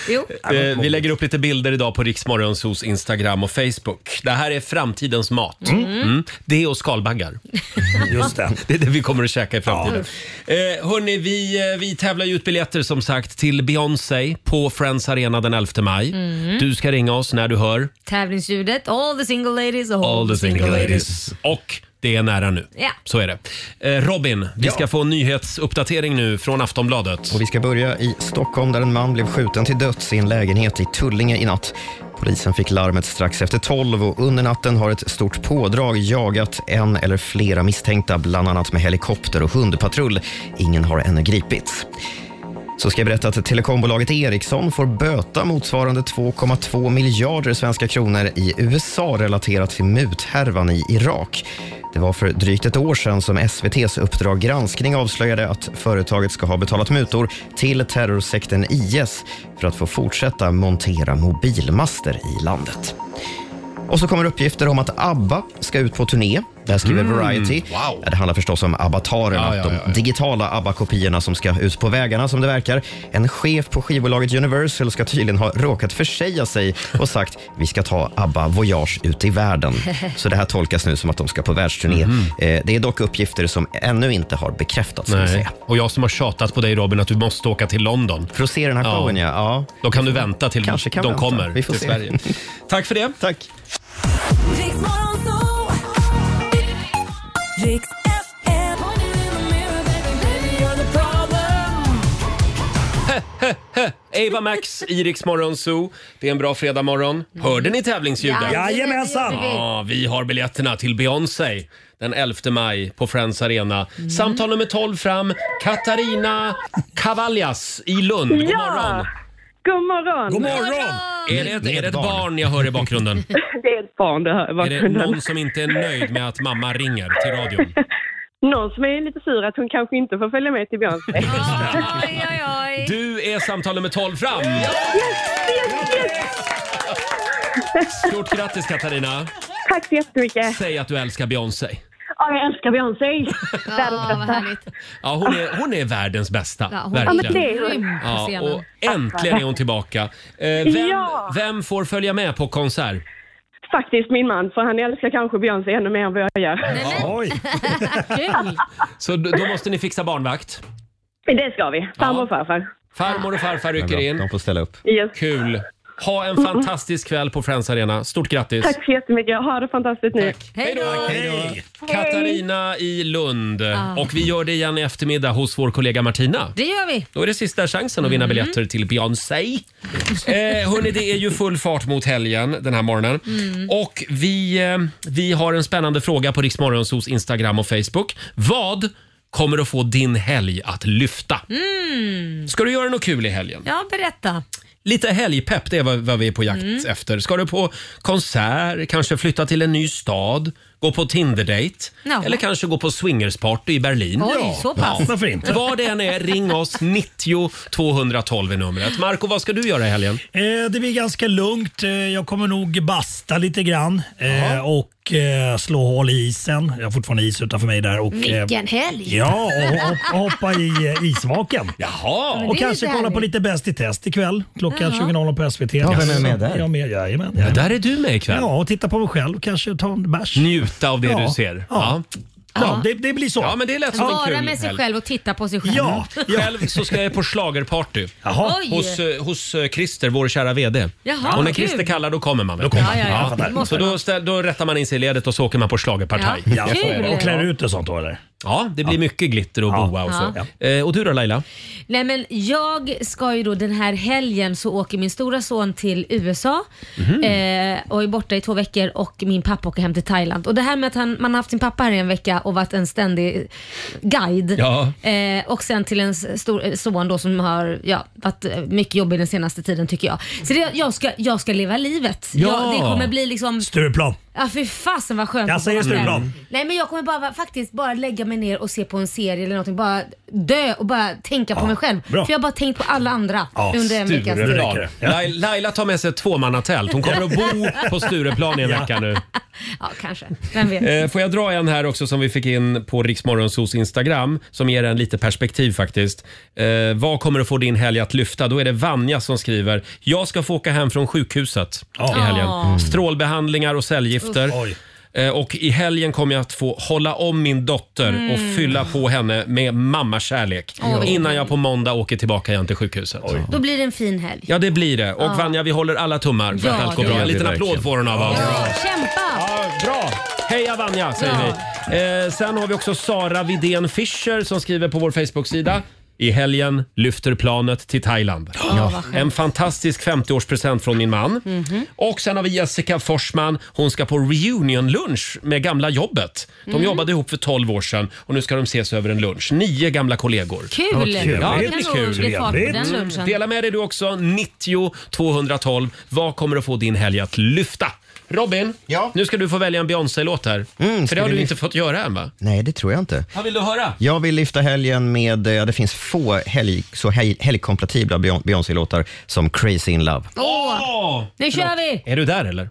Jo. Eh, vi lägger upp lite bilder idag på Riksmorgonsos Instagram och Facebook. Det här är framtidens mat. Mm. Det och skalbaggar. Just det. det är det vi kommer att käka i framtiden. Eh, hörni, vi, eh, vi tävlar ju ut biljetter som sagt till Beyoncé på Friends Arena den 11 maj. Mm. Du ska ringa oss när du hör Tävlingsljudet, all the single ladies och All the single ladies. Och det är nära nu. Ja. Så är det. Eh, Robin, vi ska få en nyhetsuppdatering nu från Aftonbladet. Och vi ska börja i Stockholm där en man blev skjuten till döds i en lägenhet i Tullinge i natt. Polisen fick larmet strax efter 12 och under natten har ett stort pådrag jagat en eller flera misstänkta, bland annat med helikopter och hundpatrull. Ingen har ännu gripits. Så ska jag berätta att telekombolaget Ericsson får böta motsvarande 2,2 miljarder svenska kronor i USA relaterat till muthärvan i Irak. Det var för drygt ett år sedan som SVTs Uppdrag granskning avslöjade att företaget ska ha betalat mutor till terrorsekten IS för att få fortsätta montera mobilmaster i landet. Och så kommer uppgifter om att ABBA ska ut på turné. Där skriver Mm, Variety. Ja, Det handlar förstås om avataren, Ja, att ja, de ja, ja. digitala ABBA-kopiorna som ska ut på vägarna som det verkar. En chef på skivbolaget Universal ska tydligen ha råkat försäga sig och sagt vi ska ta ABBA Voyage ut i världen. Så det här tolkas nu som att de ska på världsturné. Mhm. Eh, Det är dock uppgifter som ännu inte har bekräftats. ska vi Nej. säga. Och jag som har tjatat på dig Robin att du måste åka till London. För att se den här showen, ja. Då kan du vänta till Kanske kan de vänta. kommer Vi får till se. Sverige. Tack för det. Tack. Eva Max, Iriks morgonzoo. Det är en bra fredagmorgon. Hörde ni tävlingsljudet? Ja, Jajamensan! det gjorde vi. Ja, vi har biljetterna till Beyoncé den 11 maj på Friends Arena. Samtal nummer 12 fram. Katarina Cavallias i Lund. God Ja. morgon! God morgon! God morgon! Är det, ett, är det ett barn jag hör i bakgrunden? Det är ett barn det här i Är det bakgrunden. någon som inte är nöjd med att mamma ringer till radion? Någon som är lite sur att hon kanske inte får följa med till Beyoncé. Oj, oj, oj. Du är samtal nummer 12 fram! Stort grattis Katarina! Tack så jättemycket. Säg att du älskar Beyoncé. Ja, jag älskar Beyoncé. Världens bästa. Ja, hon är, hon är världens bästa. Ja, hon är verkligen. grym på ja, scenen. och äntligen är hon tillbaka. Eh, vem, Ja. vem får följa med på konsert? Faktiskt min man, för han älskar kanske Beyoncé ännu mer än vad jag gör. Oj. Kul! Så d- då måste ni fixa barnvakt. Det ska vi. Farmor och farfar. Farmor och farfar rycker in. De får ställa upp. Yes. Kul. Ha en fantastisk kväll på Friends Arena. Stort grattis. Tack så jättemycket. Ha det fantastiskt nu. Hej då! Hej. Hej. Katarina i Lund. Ah. Och vi gör det igen i eftermiddag hos vår kollega Martina. Det gör vi. Då är det sista chansen att vinna Mm. biljetter till Beyoncé. Eh, hörni, det är ju full fart mot helgen den här morgonen. Mm. Och vi, eh, vi har en spännande fråga på Riksmorgonsos Instagram och Facebook. Vad kommer att få din helg att lyfta? Mm. Ska du göra något kul i helgen? Ja, berätta. Lite Mm. helgpepp, det är vad, vad vi är på jakt efter. Ska du på konsert, kanske flytta till en ny stad, gå på Tinder-date Jaha. eller kanske gå på swingersparty i Berlin. Oj, Ja. så pass. Varför inte? Vad det än är, ring oss. 90 212 är numret. Marco, vad ska du göra i helgen? Eh, det blir ganska lugnt. Eh, jag kommer nog basta lite grann eh, och eh, slå hål i isen. Jag har fortfarande is utanför mig där. Och, eh, Vilken helg! Ja, och, hop- och hoppa i eh, isvaken. Jaha! men det är Och lite kanske kolla på härligt. lite Bäst i test ikväll klockan Jaha. 20.00 på SVT. Ja, vem är med där? Jag är med, jajamän, Ja, där är du med ikväll. Ja, och titta på mig själv och kanske ta en bärs. Njuta av det Ja. du ser. Ja. Ja, det, det blir så. Ja, men det lät som en Vara kul med sig helg. själv och titta på sig själv. Själv så ska jag på schlagerparty Jaha. Oj. hos, eh, hos eh, Christer, vår kära VD. Jaha, och när kul. Christer kallar då kommer man. vet Då du. kommer man. Ja, ja, ja. Jag fattar. Så då, ställ- då rättar man in sig i ledet och så åker man på schlagerpartaj. Ja, Ja, så är det. kul. Och klär ut och sånt då eller? Ja, det blir mycket glitter och boa och så. Eh, och du då Laila? Nej men jag ska ju då den här helgen så åker min stora son till USA Mhm. eh, och är borta i två veckor och min pappa åker hem till Thailand. Och det här med att han, man har haft sin pappa här i en vecka och varit en ständig guide Ja. eh, och sen till en s- stor eh, son då som har ja, varit eh, mycket jobbig den senaste tiden tycker jag. Så det, jag, ska, jag ska leva livet. Ja. Jag, det kommer bli liksom... Stureplan. Ja fy fasen vad skönt Jag att säger vara Stureplan. själv. Nej men jag kommer bara faktiskt bara lägga mig ner och se på en serie eller någonting. Bara dö och bara tänka på mig själv. bra. För jag har bara tänkt på alla andra under en veckas tid. Stureplan. Lai- Laila tar med sig ett tvåmannatält. Hon kommer att bo på Stureplan i en Ja. vecka nu. Ja kanske, vem vet. Eh, Får jag dra en här också som vi fick in på Riksmorgonsos Instagram som ger en lite perspektiv faktiskt. Eh, vad kommer att få din helg att lyfta? Då är det Vanja som skriver. Jag ska få åka hem från sjukhuset i helgen. Ah. Mm. Strålbehandlingar och cellgifter. Uff. Oj. Eh, Och i helgen kommer jag att få hålla om min dotter Mm. och fylla på henne med mammakärlek Ja. innan jag på måndag åker tillbaka igen till sjukhuset. Då blir det en fin helg. Ja, det blir det. Och Ja. Vanja, vi håller alla tummar för Ja, att allt går det bra. gör En vi liten applåd verkligen. får hon av oss. Kämpa! bra! Heja Vanja säger Ja. vi. Eh, sen har vi också Sara Vidén Fischer som skriver på vår Facebook-sida. I helgen lyfter planet till Thailand. Ja, vad skönt. Mhm. en fantastisk 50-årspresent från min man. Och sen har vi Jessica Forsman. Hon ska på reunion-lunch med gamla jobbet. De Mm. jobbade ihop för 12 år sedan och nu ska de ses över en lunch. Nio gamla kollegor. Kul! Ja, vad kul. Ja, det Kan nog blir bli fart på kul. den Mm. lunchen. Dela med dig du också. 90 212. Vad kommer att få din helg att lyfta? Robin, nu ska du få välja en Beyoncé-låt här. För det ska har vi du lyf- inte fått göra än va? Nej, det tror jag inte. Vad vill du höra? Jag vill lyfta helgen med, eh, ja, det finns få helg, så helg, helgkompatibla Beyon- Beyoncé-låtar som Crazy in Love. Åh! nu kör vi! Är du där eller?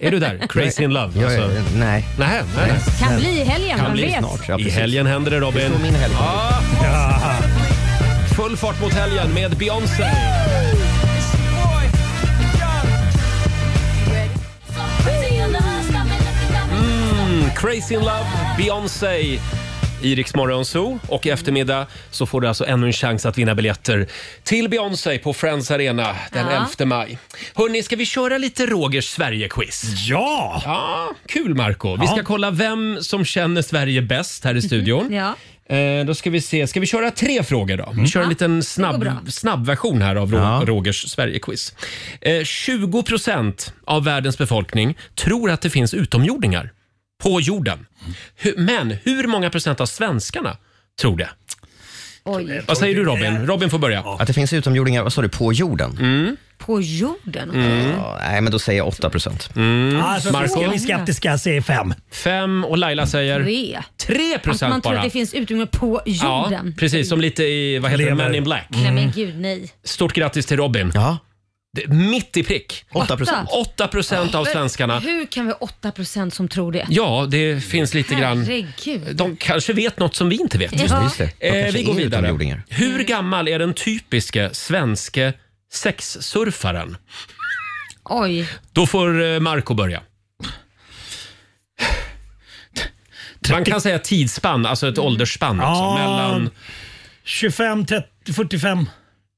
Är du där? Crazy in love? alltså. Jag är- nej. Nej, nej. Kan bli i helgen, vem vet? I helgen händer det Robin. Det min helg. Ja. Full fart mot helgen med Beyoncé. Mm, Crazy in love, Beyoncé. I Rix Morgon Zoo och i eftermiddag så får du alltså ännu en chans att vinna biljetter till Beyoncé på Friends Arena den Ja. 11 maj. Hörni, ska vi köra lite Rogers Sverige-quiz? Ja! ja! Kul Marco. Vi Ja. ska kolla vem som känner Sverige bäst här i studion. Ja. Eh, då ska vi se. Ska vi köra tre frågor då? Vi kör en liten går snabb, bra. snabb version här av Ro Rogers Sverige-quiz. Eh, 20 procent av världens befolkning tror att det finns utomjordingar på jorden. Hu- Men hur många procent av svenskarna tror det? Oj. Vad säger du Robin? Robin får börja. Att det finns utomjordingar, vad sa du, på jorden? Mm. På jorden? Ja, nej, men då säger jag 8 procent. Alltså, Mm. Marco? Marco? Ska vi skeptiska säger fem. Fem och Laila säger? Tre. Tre Att man procent tror bara. att det finns utrymme på Ja, Mm. jorden. Mm. precis. Som lite i, vad heter det, Lever. Men in Black. Nej men gud nej. Stort grattis till Robin. Ja. Mitt i prick. Åtta procent. 8 procent av Men svenskarna. Hur kan vi ha 8% som tror det? Ja, det finns lite grann. Herregud. De kanske vet något som vi inte vet. Ja. Just det, just det. De Eh, kanske vi går är vidare. utomjordingar. Hur gammal är den typiske svenske sexsurfaren? Oj. Då får eh, Marco börja. Man kan säga tidsspann, alltså Mm. ett åldersspann. Också, Ja. mellan 25, 30, 45.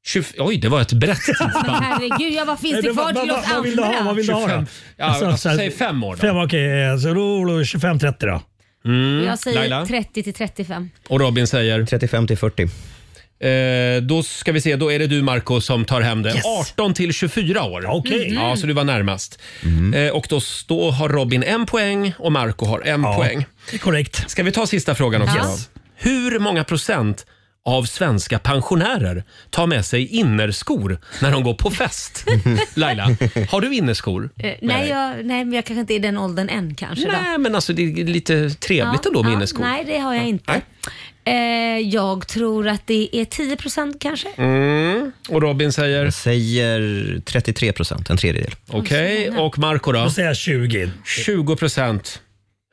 20, oj, det var ett brett Men tidsspann. herregud, ja, vad finns Nej, det men kvar vad- till vad- oss Vad vill du ha? andra? Mm. Vad vill du ha då? 25. Ja, alltså, här- säg fem år då. Fem, okej. Okay. Så då 25-30 då. Mm. Jag säger Laila? 30 till Eh, 35. Och Robin säger? 35 till 40. Eh, då ska vi se, då är det du Marco som tar hem det. Yes. 18 till 24 år. Mm. okej. Ja, så du var närmast. Eh, och då, då har Robin en poäng och Marco har en poäng. Korrekt. Ska vi ta sista frågan också? Yes. Hur många procent av svenska pensionärer tar med sig innerskor när de går på fest. Laila, har du innerskor? Eh, nej, jag, nej, men jag kanske inte är i den åldern än kanske. då. Nej, men alltså det är lite trevligt ändå med Ja, innerskor. Nej, det har jag inte. Eh, jag tror att det är 10% kanske. Mm. Och Robin säger? Jag säger 33 procent, en tredjedel. Okej, och Marco då? Jag säger 20. 20 procent.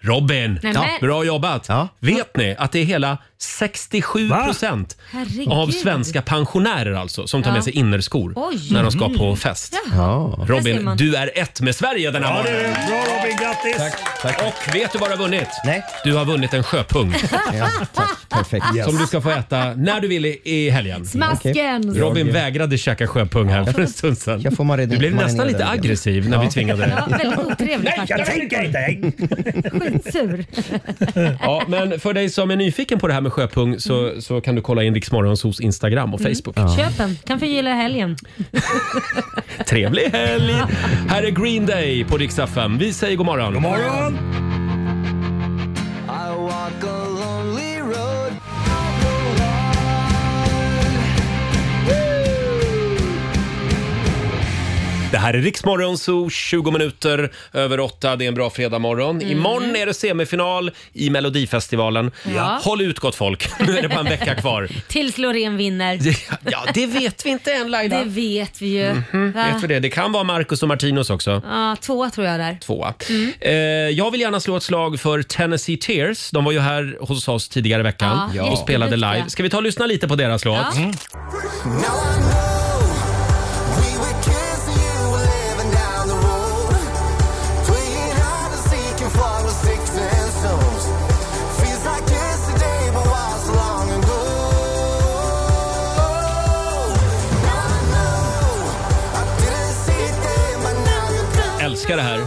Robin, Nej, ja. men- bra jobbat. Vet ni att det är hela 67 procent Herregud. av svenska pensionärer alltså som tar Ja. med sig innerskor Oj. när de ska Mm. på fest. Där ser Robin, man. du är ett med Sverige den här Ja, det är morgonen. det. Bra Robin, grattis! Och vet du vad du har vunnit? Nej. Du har vunnit en sjöpung. Perfekt. Som du ska få äta när du vill i, i helgen. Smasken! Okej. Robin vägrade käka sjöpung här för en stund sedan. du blev marinera nästan lite den igen. aggressiv när vi tvingade dig. Ja, väldigt otrevligt Nej, jag tänker inte! Skitsur. Ja, men för dig som är nyfiken på det här med sjöpung så, så kan du kolla in Riksmorgonsos Instagram och Facebook. Mm. Köp en, kan förgylla helgen. Trevlig helg! Här är Green Day på Rix FM. Vi säger god morgon. God morgon! Det här är Riksmorgonso, 20 minuter över åtta. Det är en bra fredagmorgon. Mm. Imorgon är det semifinal i Melodifestivalen. Ja. Håll ut gott folk, nu är det bara en vecka kvar. Tills Loreen vinner. Ja, det vet vi inte än Laila. Det vet vi ju. Mm, Va? vet vi det. det kan vara Marcus och Martinus också. Ja, tvåa tror jag där. tvåa. Mm. Eh, jag vill gärna slå ett slag för Tennessee Tears. De var ju här hos oss tidigare i veckan Ja, och spelade jätteduktiga. live. Ska vi ta och lyssna lite på deras låt? Ja. Mm. Älskar det här.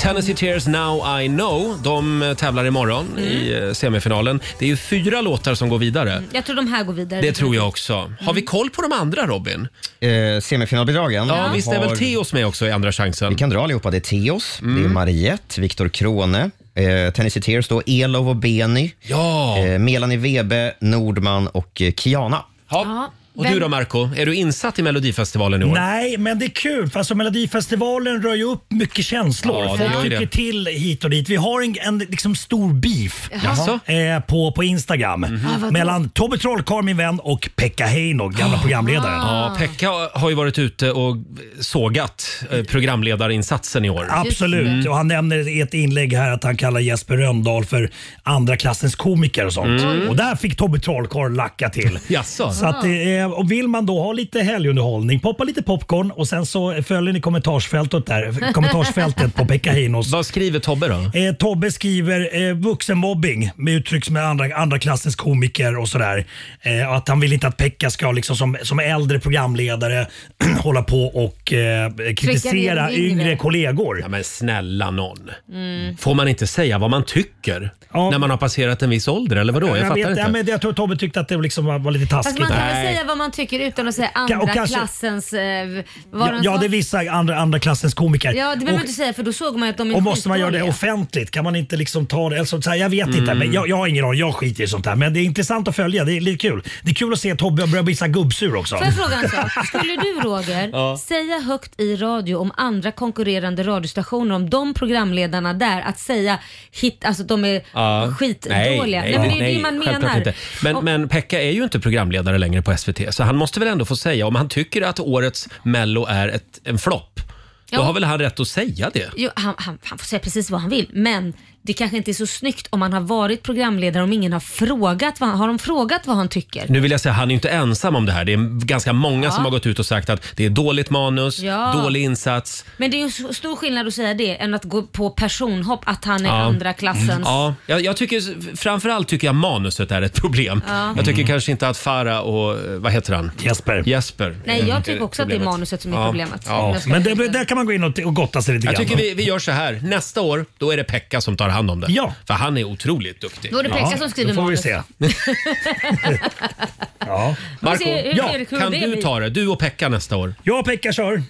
Tennessee Tears Now I Know. De eh, tävlar imorgon i Mm. eh, semifinalen. Det är ju fyra låtar som går vidare. Jag tror de här går vidare. Det tror jag också. Har vi koll på de andra Robin? Eh, semifinalbidragen. Ja, visst är väl Teos med också i Andra chansen? Mm. Vi kan dra allihopa. Det är Teos, det är Mariette, Viktor Krone, eh, Tennessee Tears, då, Elov och Beni, ja. eh, Melanie Webe, Nordman och eh, Kiana. Ja. Och vem- du då Marco, är du insatt i Melodifestivalen i år? Nej, men det är kul. För alltså, Melodifestivalen rör ju upp mycket känslor. Ja, det gör Folk ju tycker det. till hit och dit. Vi har en, en liksom stor beef Jaså? eh, på, på Instagram Ah, vadå? mellan Tobbe Trollkarl, min vän, och Pekka Heino, gamla Ah. programledaren. Ah. Ja, Pekka har ju varit ute och sågat eh, programledarinsatsen i år. Absolut. Mm. Mm. Och han nämner i ett inlägg här att han kallar Jesper Rönndahl för andra klassens komiker och sånt. Mm. Och där fick Tobbe Trollkarl lacka till. Jaså? Så att, det är- och vill man då ha lite helgunderhållning, poppa lite popcorn och sen så följer ni kommentarsfältet där. Kommentarsfältet på Pekka Heinos. Vad skriver Tobbe då? Eh, Tobbe skriver eh, vuxenmobbing med uttryck som är andra, andra klassens komiker och sådär. Eh, och att han vill inte att Pekka ska liksom som, som äldre programledare hålla på och eh, kritisera ner yngre. yngre kollegor. Ja, men snälla någon. Får man inte säga vad man tycker när man har passerat en viss ålder? Eller vadå? Jag, Jag, fattar vet, inte. ja, men jag tror Tobbe tyckte att det liksom var, var lite Fast taskigt. man kan väl säga vad man tycker utan att säga andra och kanske- klassens... Eh, vad Ja, de ja, sa. det är vissa andra, andra klassens komiker. ja, det behöver och, man inte säga för då såg man ju att de är och måste man göra det skitdåliga. offentligt? Kan man inte liksom ta det? Alltså, så här, jag vet inte, Mm. men jag, jag har ingen aning. Jag skiter i sånt här. Men det är intressant att följa. Det är lite kul. Det är kul att se Tobbe börja bli så här gubbsur också. Får jag fråga en sak? Skulle du Roger Ja. säga högt i radio om andra konkurrerande radiostationer, om de programledarna där, att säga hit, alltså de är Ja. skitdåliga? Nej, men det är ju det man självklart menar. Inte. Men, men Pekka är ju inte programledare längre på SVT, så han måste väl ändå få säga om han tycker att årets Mello är ett, en flopp. Då Ja. har väl han rätt att säga det? Jo, han, han, han får säga precis vad han vill, men det kanske inte är så snyggt om han har varit programledare om ingen har frågat vad han, har de frågat vad han tycker. Nu vill jag säga, han är ju inte ensam om det här. Det är ganska många Ja. som har gått ut och sagt att det är dåligt manus, Ja. dålig insats. Men det är ju en så stor skillnad att säga det än att gå på personhopp att han är Ja. andra klassens. Mm. Ja, jag, jag tycker, framförallt tycker jag manuset är ett problem. Ja. Jag tycker Mm. kanske inte att Farah och, eh, vad heter han? Jesper. Jesper. Nej, jag eh, tycker också att det är problemet. manuset som är Ja. problemet. Ja. Men det, där kan man gå in och, och gotta sig lite Jag grann. tycker vi, vi gör så här. Nästa år, då är det Pekka som tar tar hand om det. Ja. För han är otroligt duktig. Då är det Pekka som skriver manus. ja. Marco, Hur ser- hur ja, ser det- hur kan det du blir? ta det? Du och Pekka nästa år. Mm. Jag och Pekka kör. Yes,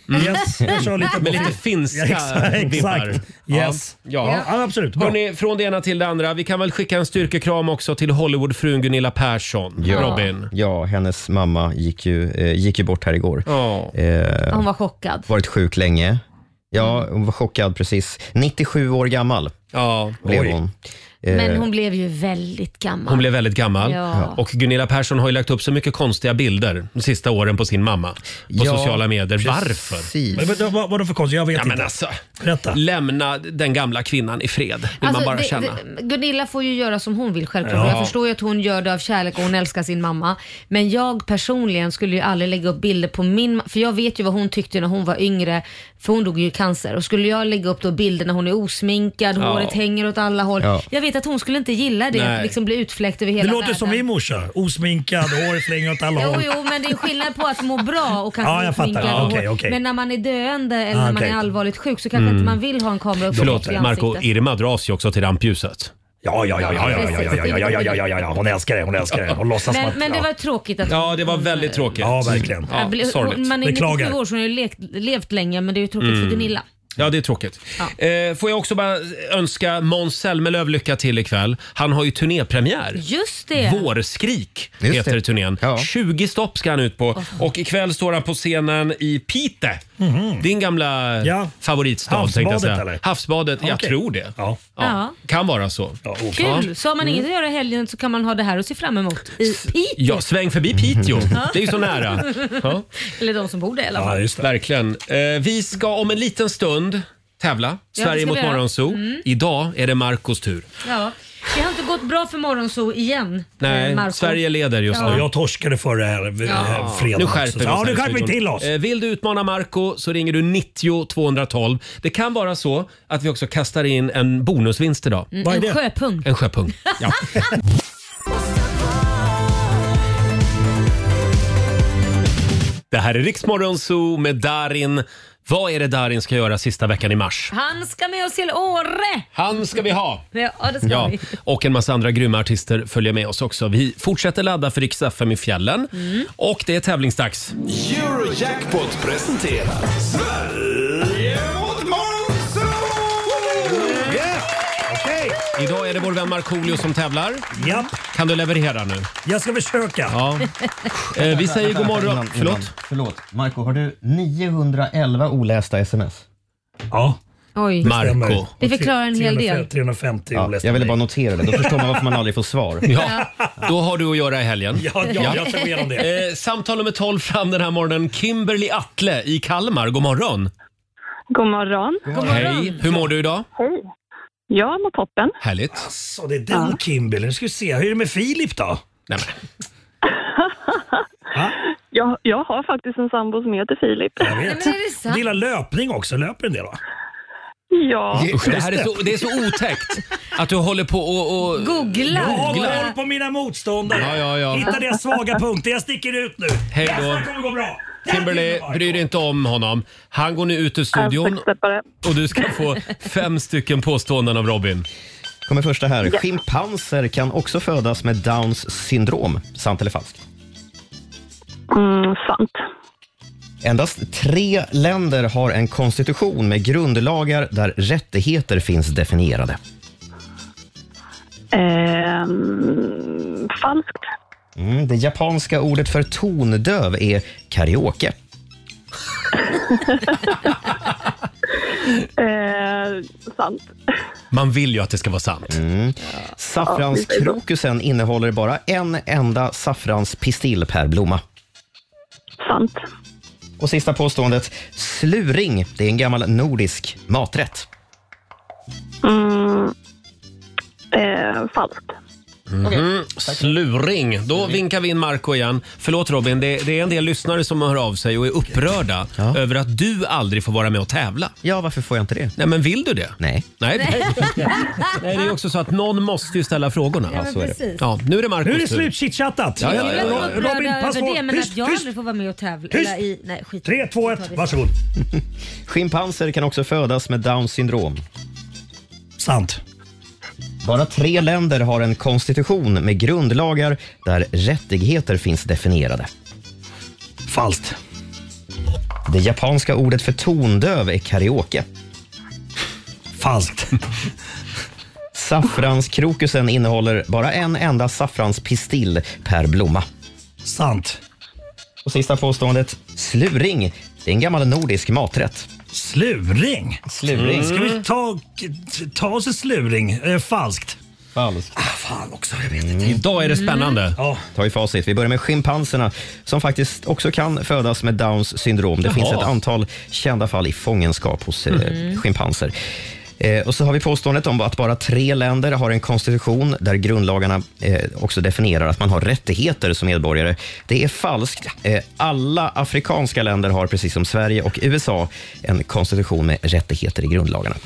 jag kör lite Med lite bort. finska Ja, exakt, exakt. vibbar. Yes. Ja. Ja, absolut. Bra. Hörrni, från det ena till det andra. Vi kan väl skicka en styrkekram också till Hollywoodfrun Gunilla Persson. Ja, Robin. ja hennes mamma gick ju, eh, gick ju bort här igår. Eh, Hon var chockad. varit sjuk länge. Ja, hon var chockad precis. 97 år gammal Mm. ja, blev oj. hon. Eh, Men hon blev ju väldigt gammal. Hon blev väldigt gammal Ja. och Gunilla Persson har ju lagt upp så mycket konstiga bilder de sista åren på sin mamma på Ja, sociala medier. precis. Varför? Men, vad, vad, vad för konstigt? Jag vet Ja, inte. men alltså, Berätta. lämna den gamla kvinnan i fred, vill man bara Alltså, det- känna. det- Gunilla får ju göra som hon vill självklart. Ja. Jag förstår ju att hon gör det av kärlek och hon älskar sin mamma. Men jag personligen skulle ju aldrig lägga upp bilder på min ma- För jag vet ju vad hon tyckte när hon var yngre. För hon dog ju i cancer. Och skulle jag lägga upp då bilder när hon är osminkad, Ja. håret hänger åt alla håll. Ja. Jag vet att hon skulle inte gilla det, Nej. att liksom bli utfläckt över hela Det låter världen. som min morsa. Osminkad, håret flänger åt alla Jo, håll. jo, men det är skillnad på att må bra och Ja, kanske jag fattar. sminkad Ja, och okej, hår. okej. Men när man är döende eller Ah, när man okej. är allvarligt sjuk så kanske Mm. inte man vill ha en kamera uppe Förlåt, i Marco, ansiktet. Irma dras ju också till rampljuset. Ja, ja, ja, ja, ja, ja, ja, ja, ja, ja, ja, ja, ja, ja. Hon älskar det. Hon älskar det. Hon låtsas Men, att... men det ja. var tråkigt att Ja, det var väldigt tråkigt. Ja, verkligen. Ja, Jag blir- Äh, hon- sorgligt. man är 97 år så hon har ju lekt, levt länge men det är ju tråkigt Mm. för Gunilla. Ja, det är tråkigt. Eh, får jag också bara önska Måns Zelmerlöw lycka till ikväll. Han har ju turnépremiär. Just det. Vårskrik Just heter det. turnén. 20 stopp ska han ut på. Och ikväll står han på scenen i Pite. Mhm. Din gamla Ja. favoritstad tänkte jag Havsbadet, säga. eller? Havsbadet, jag Okej. tror det. Ja. Ja. Kan vara så. Ja, Mm. Kul! Så har man inget att göra i helgen så kan man ha det här att se fram emot i Piteå. Ja, sväng förbi Piteå. Ja. Det är ju så nära. Ja. Eller de som bor där i alla fall. Verkligen. Eh, vi ska om en liten stund tävla. det Sverige ska mot vi göra. Morgonzoo. Mm. Idag är det Marcos tur. Ja. Det har inte gått bra för Morgonzoo igen. Nej, eh, Marco. Sverige leder just Ja. nu. Jag torskade förra här, ja. fredagen Nu skärper också. vi oss Ja, här nu i skärper vi studion. till oss. Eh, Vill du utmana Marco så ringer du 90 212. Det kan vara så att vi också kastar in en bonusvinst idag. Mm, en sjöpung. En sjöpung, ja. Det här är Riksmorgon Zoo med Darin. Vad är det Darin ska göra sista veckan i mars? Han ska med oss till Åre! Han ska vi ha! Ja, det ska Ja, vi. och en massa andra grymma artister följer med oss också. Vi fortsätter ladda för Rix FM i fjällen Mm. och det är tävlingsdags. Eurojackpot presenterar Sverige mot Idag är det vår vän Markoolio som tävlar. Ja. Kan du leverera nu? Jag ska försöka. Ja. Eh, vi säger god morgon. Innan, Förlåt? Innan. Förlåt. Marco, har du 911 olästa sms? Ja. Oj. Marco. Det förklarar en hel del. 350 Ja, jag ville bara notera det. Då förstår man varför man aldrig får svar. Ja, då har du att göra i helgen. Ja, ja, jag tar med om det. Eh, samtal nummer 12 fram den här morgonen. Kimberly Atle i Kalmar. God morgon. God morgon. Hej, hur mår du idag? Hej. Jag mår toppen. Härligt. Så det är den Kimberley. Nu ska vi se. Hur är det med Filip då? Nej, Jag, jag har faktiskt en sambo som heter Filip. Jag vet. Du gillar löpning också. Löper en del va? Ja. Usch, det här är så, det är så otäckt att du håller på och... och Jag har koll på mina motståndare. Ja, ja, ja. Hittar deras svaga punkter. Jag sticker ut nu. Hej då. Resten kommer gå bra. Kimberly, bry dig inte om honom. Han går nu ut ur studion och du ska få fem stycken påståenden av Robin. Kommer första här. Ja. Schimpanser kan också födas med Downs syndrom. Sant eller falskt? Mm, sant. Endast tre länder har en konstitution med grundlagar där rättigheter finns definierade. Ehm, falskt. Mm, det japanska ordet för tondöv är karaoke. Ehm, sant. Man vill ju att det ska vara sant. Mm. Saffranskrokusen innehåller bara en enda saffranspistill per blomma. Sant. Och sista påståendet. Sluring, det är en gammal nordisk maträtt. Mm, ehm, falskt. Mhm. Sluring. Då vinkar vi in Marco igen. Förlåt Robin, det, det är en del lyssnare som hör av sig och är upprörda över att du aldrig får vara med och tävla. Ja, varför får jag inte det? Nej, men vill du det? Nej. Nej, det- Nej det är också så att någon måste ju ställa frågorna. Ja, men så är det. precis. Ja, nu är det Marcos Nu är det tur. slut chitchatat. Ja, ja, ja, ja. Robin, Robin, pass på. över det, men Tyst, att jag tyst. aldrig får vara med och tävla. Tyst. Eller i, nej, skit. Tre, två, ett. Varsågod. Schimpanser kan också födas med Downs syndrom. Sant. Bara tre länder har en konstitution med grundlagar där rättigheter finns definierade. Falskt. Det japanska ordet för tondöv är karaoke. Falskt. Saffranskrokusen innehåller bara en enda saffranspistill per blomma. Sant. Och sista påståendet. Sluring. Det är en gammal nordisk maträtt. Sluring? Sluring. Ska vi ta, ta oss en sluring? Eh, falskt. Falskt. Ah, fan också, jag vet Mm. inte. Ja. Ta i facit. Vi börjar med schimpanserna som faktiskt också kan födas med Downs syndrom. Det Jaha. finns ett antal kända fall i fångenskap hos eh, Mm. schimpanser. Eh, och så har vi påståendet om att bara tre länder har en konstitution där grundlagarna eh, också definierar att man har rättigheter som medborgare. Det är falskt. Eh, alla afrikanska länder har, precis som Sverige och USA, en konstitution med rättigheter i grundlagarna.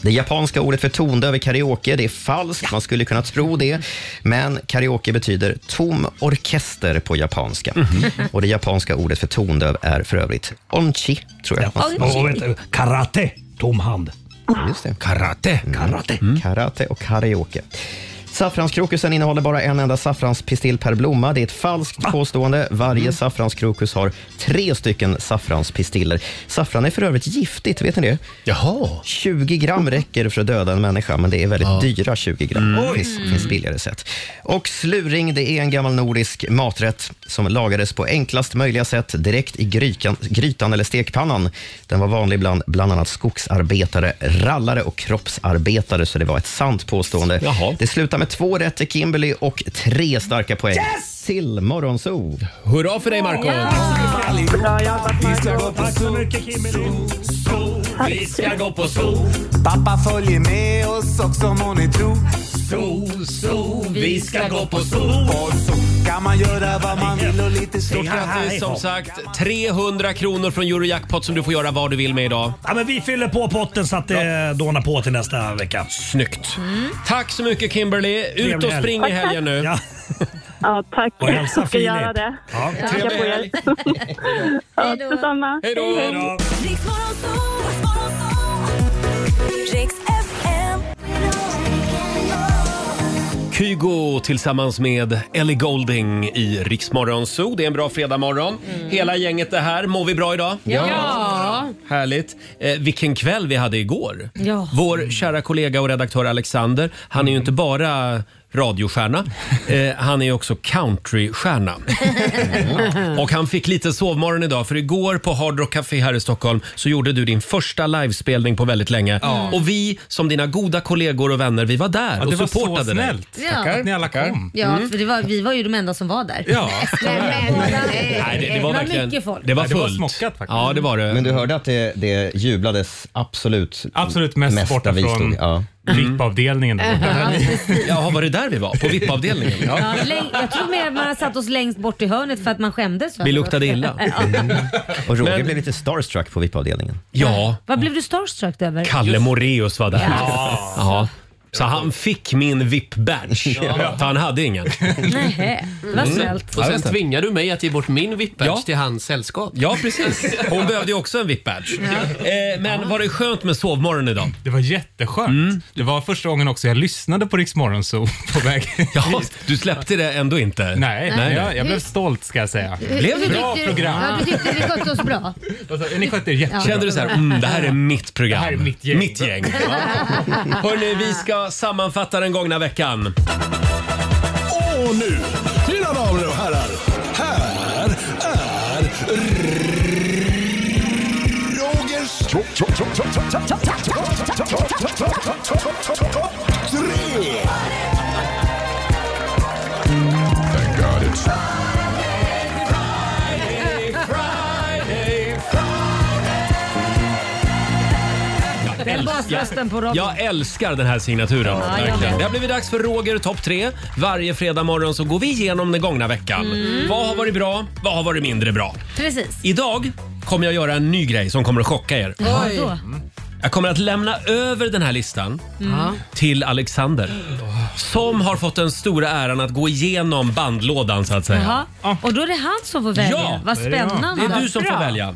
Det japanska ordet för tondöv är karaoke. Det är falskt, man skulle kunna tro det. Men karaoke betyder tom orkester på japanska. Och det japanska ordet för tondöv är för övrigt onchi, tror jag. Ja. Och vänta, karate, tom hand. Just det. Karate. Karate. Mm. Karate och karaoke. Saffranskrokusen innehåller bara en enda saffranspistill per blomma. Det är ett falskt påstående. Varje Mm. saffranskrokus har tre stycken saffranspistiller. Saffran är för övrigt giftigt, vet ni det? Jaha. 20 gram räcker för att döda en människa, men det är väldigt Ja. dyra 20 gram. Mm. Det finns, finns billigare sätt. Och sluring, det är en gammal nordisk maträtt som lagades på enklast möjliga sätt direkt i grykan, grytan eller stekpannan. Den var vanlig bland bland annat skogsarbetare, rallare och kroppsarbetare, så det var ett sant påstående. Det slutar med två rätt till Kimberly och tre starka poäng till Morgonzoo. Hurra för dig, Marco! Vi ska gå på sol, sol, sol. Vi ska gå på sol. Pappa följer med oss också må ni tro. Sol, sol, vi ska gå på sol. På sol kan man göra vad man vill och lite Stort grattis som sagt. 300 kronor från Eurojackpot som du får göra vad du vill med idag. Ja, men vi fyller på potten så att det dånar på till nästa vecka. Snyggt. Tack så mycket Kimberly. Ut Trevlig och helg. spring i helgen nu. Ja. Ja, tack. Och hälsa Jag ska göra Filip. det. Ja. Jag ska Trevlig på er. helg. Ja, detsamma. Hej då. Hej, hej. Riks FM. Kygo tillsammans med Ellie Golding i Riksmorgon Zoo. Det är en bra fredagmorgon. Hela gänget är här. Mår vi bra idag? Ja. Ja. Härligt. Eh, vilken kväll vi hade igår. Ja. Vår kära kollega och redaktör Alexander, han är ju inte bara radiostjärna, eh, han är ju också countrystjärna. Och han fick lite sovmorgon idag för igår på Hard Rock Café här i Stockholm så gjorde du din första livespelning på väldigt länge. Mm. Ja. Och vi som dina goda kollegor och vänner, vi var där Ja, och det var så supportade dig. snällt. Ja. Tackar att ni alla kom. Ja, för det var, vi var ju de enda som var där. Mm. Ja. Men, men, nej, Nej, det, det var verkligen... mycket folk. Det var fullt. Ja, det var det. Men du hörde att det, det jublades absolut Absolut mest mesta borta vi från stod- ja. VIP-avdelningen. Ja, Mm. precis. Jaha, var det där vi var? På VIP-avdelningen? Ja, läng- jag tror mer att man har satt oss längst bort i hörnet för att man skämdes. va? Vi luktade illa. Ja. Och Roger blev lite starstruck på VIP-avdelningen. Ja, Vad blev du starstruck över? Kalle Moreus var där. Ja. Ja. Så han fick min VIP-badge. Ja. För han hade ingen. Mm. Nej, det var snällt. Och sen tvingar du mig att ge bort min VIP-badge Ja. till hans sällskap. Ja, precis. Hon behövde ju också en VIP-badge. Eh, men var det skönt med sovmorgon idag? Det var jätteskönt. Det var första gången också jag lyssnade på Rix Morgonzoo på väg ja, Du släppte det ändå inte? Nej, Nej. Jag, jag blev Hur- stolt ska jag säga. Hur- hur tyckte Bra du- program. Ja, du tyckte vi skötte oss bra. Ni skötte er jättebra. Kände du så här, mm, det här är mitt program. Det här är mitt gäng. Mitt gäng. Hörni, vi ska sammanfatta den gångna veckan. Och nu, mina damer och herrar, här är Rogers... Tre! Den basrösten på Robin. Jag älskar den här signaturen. Ja, jag verkligen. med. Det har blivit dags för Roger topp tre. Varje fredag morgon så går vi igenom den gångna veckan. Mm. Vad har varit bra? Vad har varit mindre bra? Precis. Idag kommer jag göra en ny grej som kommer att chocka er. Vadå? Jag kommer att lämna över den här listan Mm. Ja. till Alexander. Mm. Som har fått den stora äran att gå igenom bandlådan så att säga. Jaha. Och då är det han som får välja. Vad spännande. Bra.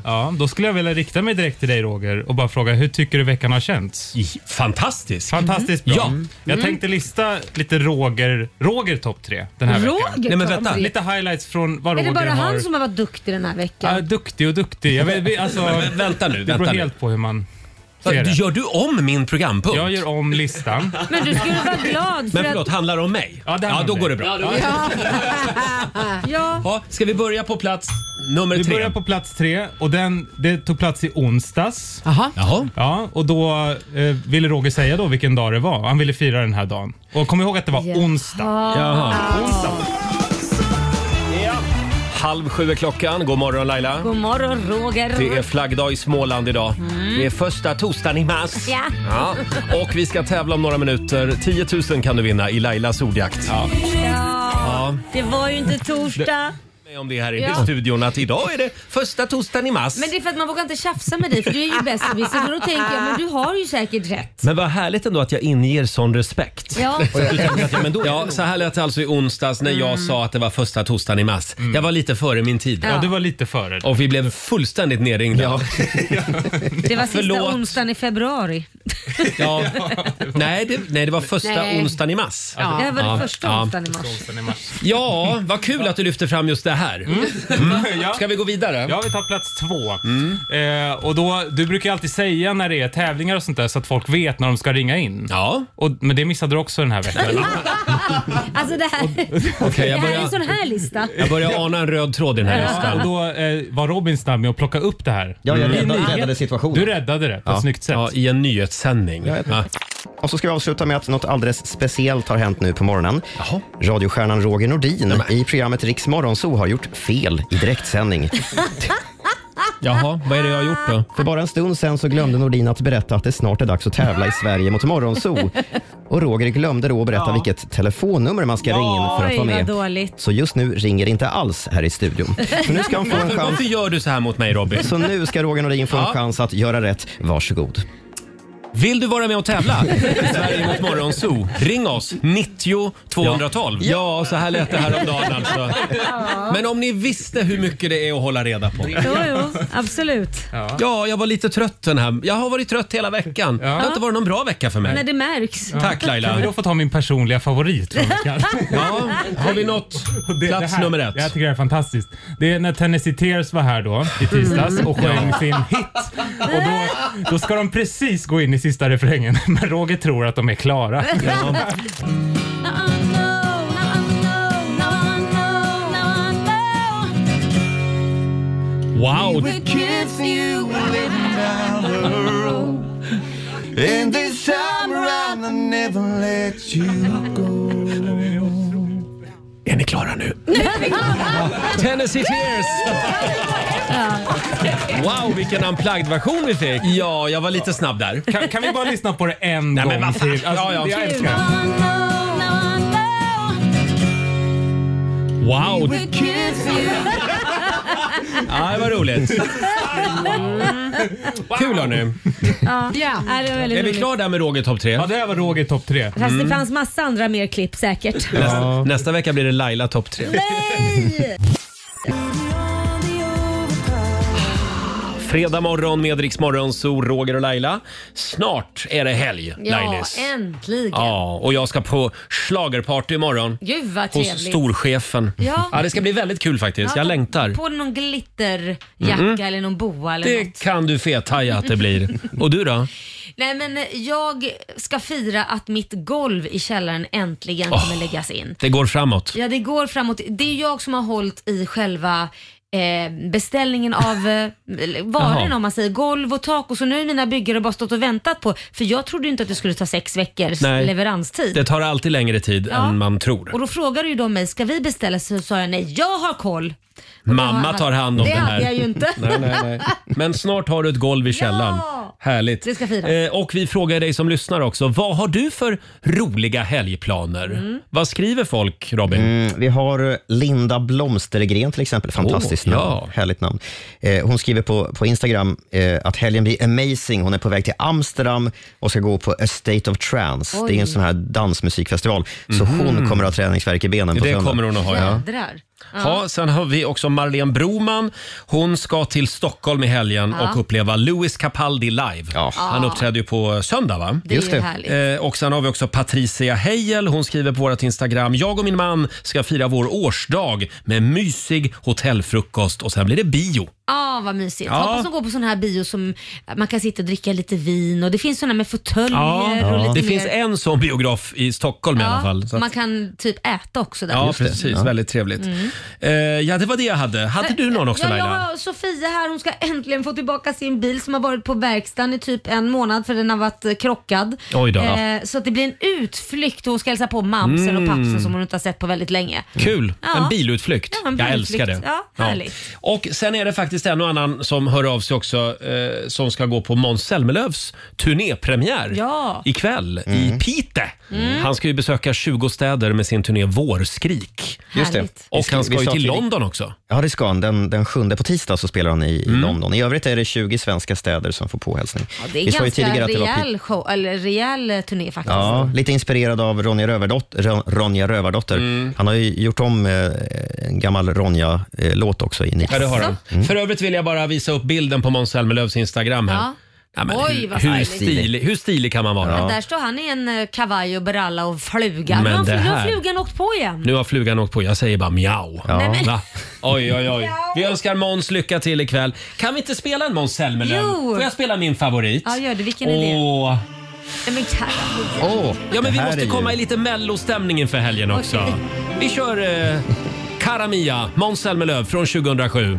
Ja, då skulle jag vilja rikta mig direkt till dig Roger och bara fråga hur tycker du veckan har känts? Fantastisk. Fantastiskt bra. Ja. Jag Mm. tänkte lista lite Roger, Roger topp tre den här Roger veckan. Nej, men topp vänta. tre? Lite highlights från vad Är Roger det bara har. han som har varit duktig den här veckan? Ja, duktig och duktig. Jag vet, vi- alltså, Men- men vänta nu, Det beror vänta nu. helt på hur man Va, ser du- det. Gör du om min programpunkt? Jag gör om listan. Men du skulle vara glad för Men förlåt, att... handlar det om mig? Ja, handlar om då dig. går det bra. Ja, Ja. ja. Ja, ska vi börja på plats nummer vi tre? börjar på plats tre och den, det tog plats i onsdags. Jaha. Ja, och då eh, ville Roger säga då vilken dag det var. Han ville fira den här dagen. Och kom ihåg att det var onsdag. Halv sju är klockan. God morgon Laila. God morgon Roger. Det är flaggdag i Småland idag. Det är första torsdagen i mars. Ja. Ja. Och vi ska tävla om några minuter. 10 000 kan du vinna i Lailas ordjakt. Ja. Ja. Det var ju inte torsdag. Med om det här i Ja. studion att idag är det första torsdagen i mars. Men det är för att man vågar inte tjafsa med dig för du är ju bäst i Så då tänker jag, men du har ju säkert rätt. Men vad härligt ändå att jag inger sån respekt. Ja. Så, att du tänker att, ja, men då ja, så här lät det alltså i onsdags när jag sa att det var första torsdagen i mars. Jag var lite före min tid. Mm. Ja, Ja. du Mm. var lite före. Och vi blev fullständigt nerringda. Ja. Det var sista Förlåt. onsdagen i februari. Nej, det, nej, det var första Nej. onsdagen i mars. Ja, det var Ja. första Ja. onsdagen i mars. Ja, vad kul att du lyfter fram just det här. Mm. Mm. Ja. Ska vi gå vidare? Ja, vi tar plats två. Eh, och då, du brukar ju alltid säga när det är tävlingar och sånt där så att folk vet när de ska ringa in. Ja. Och, men det missade du också den här veckan. Alltså det här, Okej, jag det här är börjar- en sån här lista. Jag börjar ana en röd tråd i den här Ja. listan. Och då eh, var Robin snabb med att plocka upp det här. Ja, jag I räddade- nyhet- räddade situationen. Du räddade det på ett snyggt sätt. Ja, i en nyhetssändning. Ja. Och så ska vi avsluta med att något alldeles speciellt har hänt nu på morgonen. Radiostjärnan Roger Nordin i programmet Riks Morgonzoo har gjort fel i direktsändning. Jaha, vad är det jag har gjort då? För bara en stund sen så glömde Nordin att berätta att det snart är dags att tävla i Sverige mot Morgonzoo. Och Roger glömde då att berätta Ja. vilket telefonnummer man ska ringa in för att Oj, vad vara med. dåligt. Så just nu ringer det inte alls här i studion. Så nu ska han få en Varför- chans. Varför gör du så här mot mig Robin? Så nu ska Roger Nordin få en Ja. chans att göra rätt. Varsågod. Vill du vara med och tävla i Sverige mot Morgonzoo? Ring oss, 90 212. Ja, så här lät det häromdagen alltså. Men om ni visste hur mycket det är att hålla reda på. Jo, jo, absolut. Ja, jag var lite trött den här. Jag har varit trött hela veckan. Det har inte varit någon bra vecka för mig. När det märks. Tack Laila. Kan vi då få ta min personliga favorit? från veckan? Ja, har vi nått plats här, nummer ett? Jag tycker det här är fantastiskt. Det är när Tennessee Tears var här då i tisdags Mm. och Mm. sjöng sin hit. Och då, då ska de precis gå in i sista refrängen, men Roger tror att de är klara. Wow! We kiss you with our own. And this time around I never let you go. Är ni klara nu? Tennessee Tears! Wow, vilken unplugged-version vi fick. Ja, jag var lite snabb där. Kan, kan vi bara lyssna på det en Nej, gång men vad fan. till? Alltså, Ja, ja. det Jag älskar. det. Wow! We kiss you. Ja, det var roligt. Kul hörni. Ja, ja, det var väldigt Är vi roligt. klara Mm. där med Roger topp 3? Ja, det här var Roger topp 3. Fast det fanns massa andra mer klipp säkert. Nästa, nästa vecka blir det Laila topp 3. Nej! Fredag morgon med Rix Morgon, så Roger och Laila. Snart är det helg, Ja, Lailis. äntligen. Ja, och jag ska på schlagerparty imorgon. Gud vad Hos trevligt. storchefen. Ja. det ska bli väldigt kul faktiskt. Jag längtar. På dig någon glitterjacka Mm. eller någon boa eller Det något. kan du fethaja att det blir. Och du då? Nej men eh, jag ska fira att mitt golv i källaren äntligen kommer Åh. läggas in. Det går framåt. Ja, det går framåt. Det är jag som har hållit i själva eh, beställningen av eh, varorna Jaha. om man säger, golv och tak och så nu har mina byggare bara stått och väntat på, för jag trodde ju inte att det skulle ta sex veckors Nej. leveranstid. Det tar alltid längre tid Ja. än man tror. Och då frågade ju de mig, ska vi beställa? Så sa jag nej, jag har koll. Mamma tar hand om det den här. hade jag ju inte. Nej, nej, nej. Men snart har du ett golv i källaren. Ja. Härligt. Det ska firas. Eh, och vi frågar dig som lyssnar också, vad har du för roliga helgplaner? Mm. Vad skriver folk, Robin? Mm, vi har Linda Blomstergren till exempel. Fantastiskt Åh, namn. ja. Härligt namn. Eh, hon skriver på, på Instagram eh, att helgen blir amazing. Hon är på väg till Amsterdam och ska gå på A State of Trance. Oj. Det är en sån här dansmusikfestival. Så Mhm. hon kommer att ha träningsvärk i benen på Det söndag. kommer hon att ha, ja. Jädrar. Ja, sen har vi också Marlene Broman. Hon ska till Stockholm i helgen Ja. och uppleva Louis Capaldi live. Han Ja. uppträder ju på söndag va? Det är Just ju det. härligt. Eh, och sen har vi också Patricia Heijel. Hon skriver på vårt Instagram. Jag och min man ska fira vår årsdag med mysig hotellfrukost och sen blir det bio. Ja, vad mysigt. Ja. Hoppas de går på sån här bio som man kan sitta och dricka lite vin och det finns såna med fåtöljer och lite Det mer. finns en sån biograf i Stockholm i Ja, alla fall. så att- Man kan typ äta också där. Ja, precis. Väldigt trevligt. Mm. Eh, ja, det var det jag hade. Hade du någon också ja, Laila? Jag har Sofia här, hon ska äntligen få tillbaka sin bil som har varit på verkstaden i typ en månad för den har varit eh, krockad. Eh, Oj då. så att det blir en utflykt och hon ska hälsa på mamsen och Mm. pappsen som hon inte har sett på väldigt länge. Kul! Mm. Ja. En bilutflykt. Ja, en jag bilutflykt. älskar det. Ja, härligt. Och Sen är det faktiskt en och annan som hör av sig också eh, som ska gå på Måns Zelmerlöws turnépremiär Ja. ikväll i Pite. Mm. Han ska ju besöka 20 städer med sin turné Vårskrik. Just det. Härligt. Och han Vi ska ju sa till till- London också. Mm. Ja, det ska han. Den, den sjunde på tisdag så spelar han i, i London. I övrigt är det 20 svenska städer som får påhälsning. Ja, det är Vi sa ju tidigare ganska att det var Piteå. rejäl, show, eller rejäl eh, turné faktiskt. Ja, lite inspirerad av Ronja, Rövardot- Ro- Ronja Rövardotter. Mm. Han har ju gjort om eh, en gammal Ronja-låt också. I ny- Ja, det har han. Mm. För övrigt vill jag bara visa upp bilden på Måns Zelmerlöws Instagram här. Ja. Ja, men Oj, hur- vad hur, härligt. stilig, hur stilig kan man vara? Där står han i en eh, kavaj och bralla och fluga. Men nu, har, det nu har här- flugan åkt på igen. Nu har flugan åkt på. Jag säger bara mjau. Nej, men- Va? Oj, oj, oj. Vi önskar Måns lycka till ikväll. Kan vi inte spela en Måns Zelmerlöw? Jo. Får jag spela min favorit? Ja, gör det. Vilken är det? Åh. Nej, men Kaja. Åh, ja, men vi det här måste är ju- komma i lite mellostämning inför helgen också. Okej. Vi kör eh, Karamia, Måns Zelmerlöw från 2007.